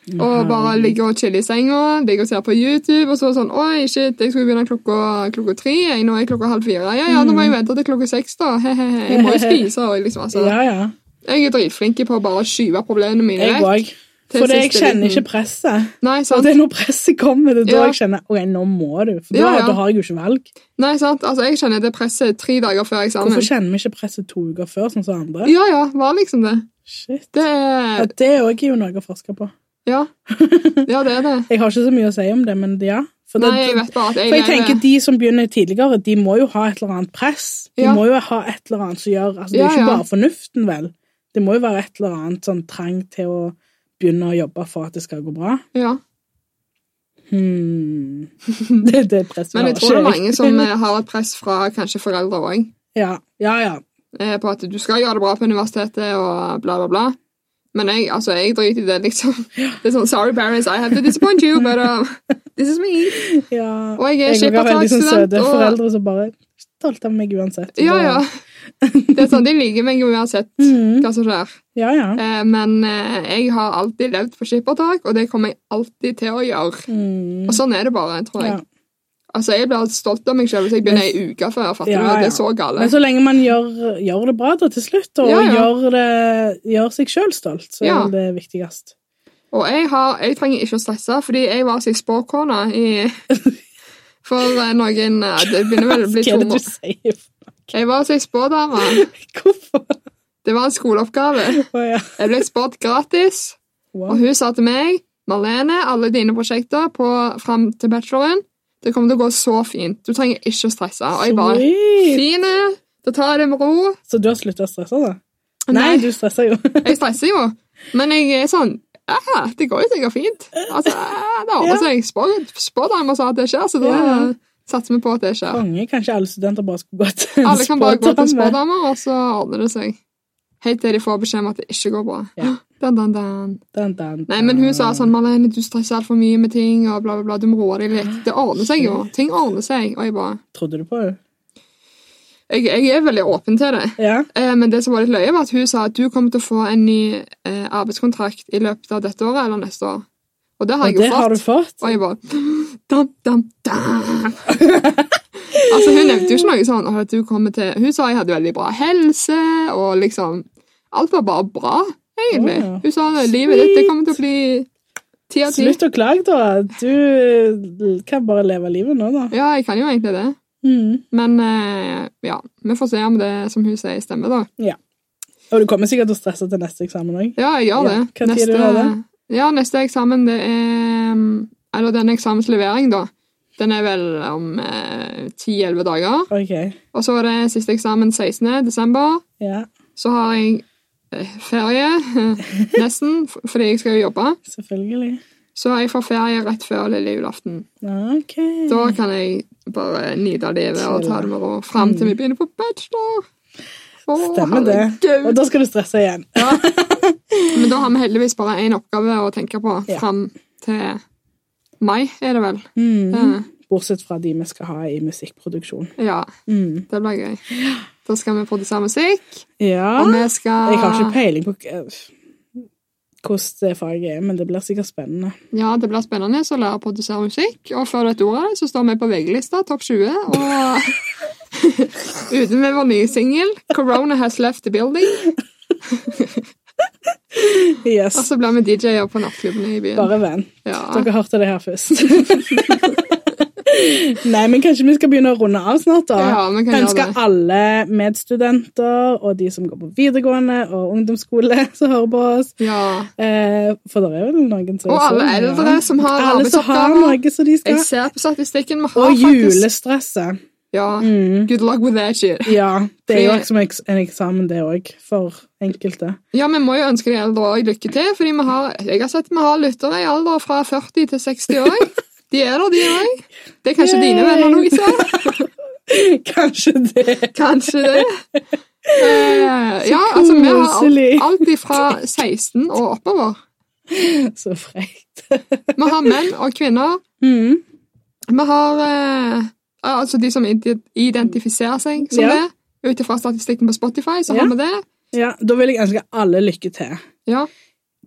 [SPEAKER 1] Mhm.
[SPEAKER 2] og bare ligger og chiller i senga, ligger og ser på YouTube, og så sånn Oi, shit, jeg skulle begynne klokka, klokka tre, jeg, nå er klokka halv fire. Ja, ja, nå må jeg vente til klokka seks, da. He-he-he. Jeg må jo spise. Og liksom, altså.
[SPEAKER 1] Mm. Ja, ja.
[SPEAKER 2] Jeg er dritflink på å bare skyve problemene mine
[SPEAKER 1] Jeg
[SPEAKER 2] vekk.
[SPEAKER 1] òg.
[SPEAKER 2] Til
[SPEAKER 1] For det- jeg
[SPEAKER 2] siste
[SPEAKER 1] kjenner
[SPEAKER 2] liten.
[SPEAKER 1] ikke presset.
[SPEAKER 2] Nei,
[SPEAKER 1] Og
[SPEAKER 2] sant.
[SPEAKER 1] det er når presset kommer, det er da
[SPEAKER 2] Ja.
[SPEAKER 1] jeg kjenner ok, nå må du. For da,
[SPEAKER 2] Ja, ja.
[SPEAKER 1] da har jeg jo ikke valg.
[SPEAKER 2] Nei, sant. Altså, jeg kjenner det presset tre dager før eksamen.
[SPEAKER 1] Hvorfor kjenner vi ikke presset to uker før, sånn som andre?
[SPEAKER 2] Ja, ja, var liksom det.
[SPEAKER 1] Shit.
[SPEAKER 2] Det
[SPEAKER 1] Ja,
[SPEAKER 2] er
[SPEAKER 1] det er også jo noe å forske på.
[SPEAKER 2] Ja. Ja, det er det.
[SPEAKER 1] Jeg har ikke så mye å si om det, men ja. For, det,
[SPEAKER 2] Nei, jeg vet bare at jeg
[SPEAKER 1] for jeg
[SPEAKER 2] lever-
[SPEAKER 1] tenker De som begynner tidligere, de må jo ha et eller annet press. De
[SPEAKER 2] Ja.
[SPEAKER 1] må jo ha et eller annet som gjør altså Det er
[SPEAKER 2] Ja,
[SPEAKER 1] jo ikke
[SPEAKER 2] ja.
[SPEAKER 1] bare fornuften, vel. Det må jo være et eller annet sånn trang til å begynne å jobbe for at det skal gå bra.
[SPEAKER 2] ja.
[SPEAKER 1] Hmm. Det, det presset
[SPEAKER 2] Men jeg
[SPEAKER 1] har
[SPEAKER 2] tror det er
[SPEAKER 1] ikke jeg.
[SPEAKER 2] mange som eh, har et press fra kanskje foreldre òg.
[SPEAKER 1] Ja, ja. ja.
[SPEAKER 2] eh, på at du skal gjøre det bra på universitetet og bla, bla, bla. Men jeg, altså, jeg driter i det, liksom. Det er sånn, Sorry, parents, I have to disappoint you, but uh, this is me.
[SPEAKER 1] ja.
[SPEAKER 2] Og jeg er
[SPEAKER 1] Jeg har veldig sånn
[SPEAKER 2] skippertaksstudent.
[SPEAKER 1] søte
[SPEAKER 2] Og,
[SPEAKER 1] foreldre som bare er stolte av meg uansett.
[SPEAKER 2] ja, ja. Det er sånn, De liker meg uansett
[SPEAKER 1] Mhm.
[SPEAKER 2] hva som skjer.
[SPEAKER 1] ja, ja.
[SPEAKER 2] Eh, men eh, jeg har alltid levd på skippertak, og det kommer jeg alltid til å gjøre.
[SPEAKER 1] Mm.
[SPEAKER 2] Og sånn er det bare, tror jeg.
[SPEAKER 1] Ja.
[SPEAKER 2] Altså, Jeg blir stolt av meg selv hvis jeg begynner ei uke før. Fatter
[SPEAKER 1] Ja,
[SPEAKER 2] du? Det
[SPEAKER 1] ja.
[SPEAKER 2] er så gale.
[SPEAKER 1] Men så lenge man gjør, gjør det bra da til slutt, og
[SPEAKER 2] Ja, ja.
[SPEAKER 1] Gjør, det, gjør seg sjøl stolt, så
[SPEAKER 2] Ja.
[SPEAKER 1] er det det viktigst.
[SPEAKER 2] Og jeg, har, jeg trenger ikke å stresse, fordi jeg var altså i spåkona i For eh, noen eh, Det begynner vel å bli
[SPEAKER 1] Hva
[SPEAKER 2] to
[SPEAKER 1] er det du
[SPEAKER 2] måneder.
[SPEAKER 1] sier?
[SPEAKER 2] Jeg var altså i spådame.
[SPEAKER 1] Hvorfor?
[SPEAKER 2] Det var en skoleoppgave.
[SPEAKER 1] Å, ja.
[SPEAKER 2] Jeg ble spådd gratis, og
[SPEAKER 1] wow.
[SPEAKER 2] hun sa til meg Marlene, alle dine prosjekter på, fram til bacheloren Det kommer til å gå så fint. Du trenger ikke å stresse. Og jeg bare
[SPEAKER 1] Sweet.
[SPEAKER 2] Fine! Da tar jeg det med ro.
[SPEAKER 1] Så du har slutta å stresse, da? Nei,
[SPEAKER 2] Nei,
[SPEAKER 1] du stresser jo.
[SPEAKER 2] jeg stresser jo. Men jeg er sånn «Ah, Det går jo sikkert fint. Altså, ah, det
[SPEAKER 1] Ja.
[SPEAKER 2] ordner seg. Spå- Spådamer sa at det skjer, så da
[SPEAKER 1] Ja.
[SPEAKER 2] satser vi på at det skjer.
[SPEAKER 1] Konge. Kanskje alle studenter bare skulle gå til en
[SPEAKER 2] Alle kan bare gå til
[SPEAKER 1] spådame.
[SPEAKER 2] spådamer, og så ordner det seg. Helt til de får beskjed om at det ikke går bra.
[SPEAKER 1] Ja.
[SPEAKER 2] Dan, dan, dan.
[SPEAKER 1] Dun, dun, dun.
[SPEAKER 2] Nei, men hun
[SPEAKER 1] Eh.
[SPEAKER 2] sa sånn Marlene, du stresser altfor mye med ting, og bla, bla, bla. Du må roe deg litt. Det ordner seg jo.
[SPEAKER 1] Mm.
[SPEAKER 2] Ting ordner seg. Og jeg bare
[SPEAKER 1] Trodde du på henne?
[SPEAKER 2] Jeg, jeg er veldig åpen til det.
[SPEAKER 1] Ja.
[SPEAKER 2] Eh, Men det som var litt løye, var at hun sa at du kommer til å få en ny eh, arbeidskontrakt i løpet av dette året eller neste år. Og det har
[SPEAKER 1] Og
[SPEAKER 2] jeg
[SPEAKER 1] det
[SPEAKER 2] jo
[SPEAKER 1] har du
[SPEAKER 2] fått.
[SPEAKER 1] fått?
[SPEAKER 2] Og jeg bare dam, dam, dam. Altså, hun nevnte jo ikke noe sånn at du kommer til Hun sa jeg hadde veldig bra helse, og liksom Alt var bare bra, egentlig.
[SPEAKER 1] Å, ja.
[SPEAKER 2] Hun sa at livet ditt det kommer til å bli ti av ti.
[SPEAKER 1] Slutt å klage, da. Du kan bare leve livet nå, da.
[SPEAKER 2] Ja, jeg kan jo egentlig det.
[SPEAKER 1] Mm.
[SPEAKER 2] Men eh, ja, vi får se om det som hun sier, stemmer, da.
[SPEAKER 1] Og du kommer sikkert til å stresse til neste eksamen òg.
[SPEAKER 2] Ja, jeg gjør
[SPEAKER 1] Ja.
[SPEAKER 2] det.
[SPEAKER 1] Hva tid du har det?
[SPEAKER 2] Ja, neste eksamen, det er mm, Eller denne eksamenslevering, da. Den er vel om eh, ti-elleve dager.
[SPEAKER 1] Ok.
[SPEAKER 2] Og så er det siste eksamen 16. desember.
[SPEAKER 1] Ja,
[SPEAKER 2] Så har jeg eh, ferie, nesten, f- fordi jeg skal jo jobbe.
[SPEAKER 1] selvfølgelig.
[SPEAKER 2] Så jeg får ferie rett før lille julaften.
[SPEAKER 1] Ok.
[SPEAKER 2] Da kan jeg bare nyte av livet og ta det med ro fram til vi begynner på bachelor. Å,
[SPEAKER 1] Stemmer det.
[SPEAKER 2] herregud.
[SPEAKER 1] Og da skal du stresse igjen.
[SPEAKER 2] Ja. Men da har vi heldigvis bare én oppgave å tenke på
[SPEAKER 1] Ja.
[SPEAKER 2] fram til mai, er det vel?
[SPEAKER 1] Mm.
[SPEAKER 2] Eh,
[SPEAKER 1] Bortsett fra de vi skal ha i musikkproduksjon.
[SPEAKER 2] Ja,
[SPEAKER 1] Mm.
[SPEAKER 2] det blir gøy. Da skal vi produsere musikk,
[SPEAKER 1] Ja.
[SPEAKER 2] og vi skal
[SPEAKER 1] Jeg har ikke peiling på eh, hvordan det faget er, men det blir sikkert spennende.
[SPEAKER 2] Ja, det blir spennende å lære å produsere musikk. Og før du vet ordet av det, så står vi på VG-lista, topp 20, og ute med vår nye singel 'Corona Has Left The Building'.
[SPEAKER 1] Yes.
[SPEAKER 2] Og så blir vi DJ-er på nattklubbene i byen.
[SPEAKER 1] Bare vent.
[SPEAKER 2] Ah, Ja.
[SPEAKER 1] Dere hørte det her først. Nei, men kanskje vi skal begynne å runde av snart, da.
[SPEAKER 2] Ja, vi kan gjøre
[SPEAKER 1] Ønsker
[SPEAKER 2] det.
[SPEAKER 1] alle medstudenter og de som går på videregående og ungdomsskole som hører på oss,
[SPEAKER 2] ja.
[SPEAKER 1] Eh, for det er vel noen som
[SPEAKER 2] Og
[SPEAKER 1] er
[SPEAKER 2] alle
[SPEAKER 1] sånn, ja.
[SPEAKER 2] eldre som har
[SPEAKER 1] Alle som har
[SPEAKER 2] arbeidsoppgaver.
[SPEAKER 1] noe som de
[SPEAKER 2] Jeg
[SPEAKER 1] skal.
[SPEAKER 2] ser på statistikken. Vi har
[SPEAKER 1] Og
[SPEAKER 2] faktisk
[SPEAKER 1] julestresset.
[SPEAKER 2] Ja,
[SPEAKER 1] Mm.
[SPEAKER 2] good luck with that shit.
[SPEAKER 1] Ja, det er jo
[SPEAKER 2] Fordi-
[SPEAKER 1] også som eks- en eksamen, det òg, for enkelte.
[SPEAKER 2] Ja, vi må jo ønske de eldre òg lykke til, fordi vi har, jeg har sett vi har lyttere i alder fra 40 til 60 år. De er der, de òg. Det er kanskje
[SPEAKER 1] Yay!
[SPEAKER 2] dine venner, Louise?
[SPEAKER 1] Kanskje det.
[SPEAKER 2] Kanskje det. Eh, ja, altså, vi har
[SPEAKER 1] koselig.
[SPEAKER 2] alt, alt ifra 16 og oppover.
[SPEAKER 1] Så frekt.
[SPEAKER 2] Vi har menn og kvinner.
[SPEAKER 1] Mm.
[SPEAKER 2] Vi har eh, altså de som ide- identifiserer seg som
[SPEAKER 1] Ja.
[SPEAKER 2] det. Ut ifra statistikken på Spotify, så
[SPEAKER 1] Ja.
[SPEAKER 2] har vi det.
[SPEAKER 1] Ja, da vil jeg ønske alle lykke til.
[SPEAKER 2] Ja.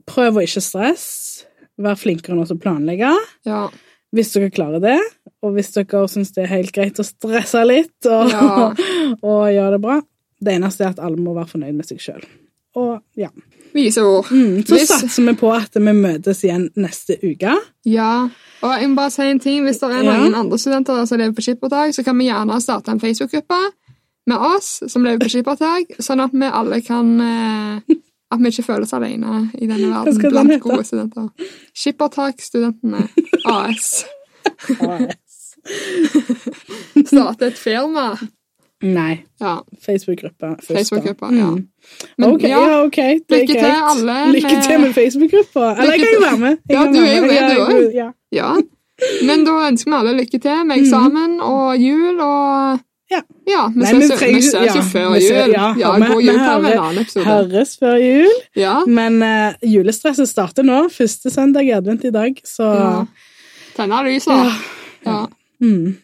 [SPEAKER 1] Prøv å ikke stresse. Vær flinkere nå til å planlegge,
[SPEAKER 2] Ja.
[SPEAKER 1] hvis dere klarer det. Og hvis dere syns det er helt greit å stresse litt og,
[SPEAKER 2] Ja.
[SPEAKER 1] og gjøre det bra. Det eneste er at alle må være fornøyd med seg sjøl. Og ja.
[SPEAKER 2] Vise ord.
[SPEAKER 1] Mm, så
[SPEAKER 2] Hvis-
[SPEAKER 1] satser vi på at vi møtes igjen neste uke.
[SPEAKER 2] Ja. Og jeg må bare si en ting. Hvis det er
[SPEAKER 1] Ja.
[SPEAKER 2] noen andre studenter som lever på skippertak, så kan vi gjerne starte en Facebook-gruppe med oss som lever på skippertak, sånn at vi alle kan eh, At vi ikke føler oss alene i denne verden
[SPEAKER 1] skal den
[SPEAKER 2] blant
[SPEAKER 1] hete?
[SPEAKER 2] gode studenter. Skippertakstudentene AS. Starte et firma.
[SPEAKER 1] Nei.
[SPEAKER 2] Ja.
[SPEAKER 1] Facebook-gruppa først. da.
[SPEAKER 2] Facebook-gruppa, ja.
[SPEAKER 1] Mm.
[SPEAKER 2] Men
[SPEAKER 1] ok, ja.
[SPEAKER 2] ja,
[SPEAKER 1] ok. Det er
[SPEAKER 2] lykke til
[SPEAKER 1] greit.
[SPEAKER 2] alle
[SPEAKER 1] Lykke
[SPEAKER 2] med-
[SPEAKER 1] til med Facebook-gruppa. Eller jeg
[SPEAKER 2] Lykke
[SPEAKER 1] kan jo
[SPEAKER 2] til-
[SPEAKER 1] være med. Jeg
[SPEAKER 2] Ja,
[SPEAKER 1] kan
[SPEAKER 2] du
[SPEAKER 1] være
[SPEAKER 2] er jo
[SPEAKER 1] med.
[SPEAKER 2] med,
[SPEAKER 1] Ja,
[SPEAKER 2] du
[SPEAKER 1] jeg- Ja.
[SPEAKER 2] ja. Men da ønsker vi alle lykke til med eksamen og jul og
[SPEAKER 1] Mm. Ja.
[SPEAKER 2] ja vi
[SPEAKER 1] Nei,
[SPEAKER 2] ses
[SPEAKER 1] men
[SPEAKER 2] jo-
[SPEAKER 1] trenger
[SPEAKER 2] vi
[SPEAKER 1] ikke-
[SPEAKER 2] ses jo
[SPEAKER 1] ja,
[SPEAKER 2] før
[SPEAKER 1] vi ser-
[SPEAKER 2] jul.
[SPEAKER 1] ja,
[SPEAKER 2] Ja,
[SPEAKER 1] og vi-
[SPEAKER 2] god
[SPEAKER 1] vi
[SPEAKER 2] jul tar vi en
[SPEAKER 1] hører-
[SPEAKER 2] annen episode.
[SPEAKER 1] Høres før jul.
[SPEAKER 2] Ja.
[SPEAKER 1] Men eh, julestresset starter nå. Første søndag i advent i dag, så
[SPEAKER 2] Ja. Tenne lyset. Ja.
[SPEAKER 1] mm.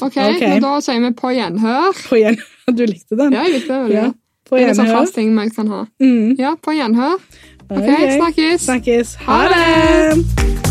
[SPEAKER 2] Ok,
[SPEAKER 1] Ok.
[SPEAKER 2] men da sier vi på gjenhør.
[SPEAKER 1] På gjen... Du likte den?
[SPEAKER 2] Ja, jeg likte det veldig
[SPEAKER 1] Ja,
[SPEAKER 2] godt.
[SPEAKER 1] På
[SPEAKER 2] Det er en sånn
[SPEAKER 1] gjenhør.
[SPEAKER 2] fast ting vi kan ha.
[SPEAKER 1] Mm.
[SPEAKER 2] Ja, på gjenhør. Ok,
[SPEAKER 1] Ok.
[SPEAKER 2] snakkes.
[SPEAKER 1] Snakkes. Ha
[SPEAKER 2] Ha
[SPEAKER 1] det!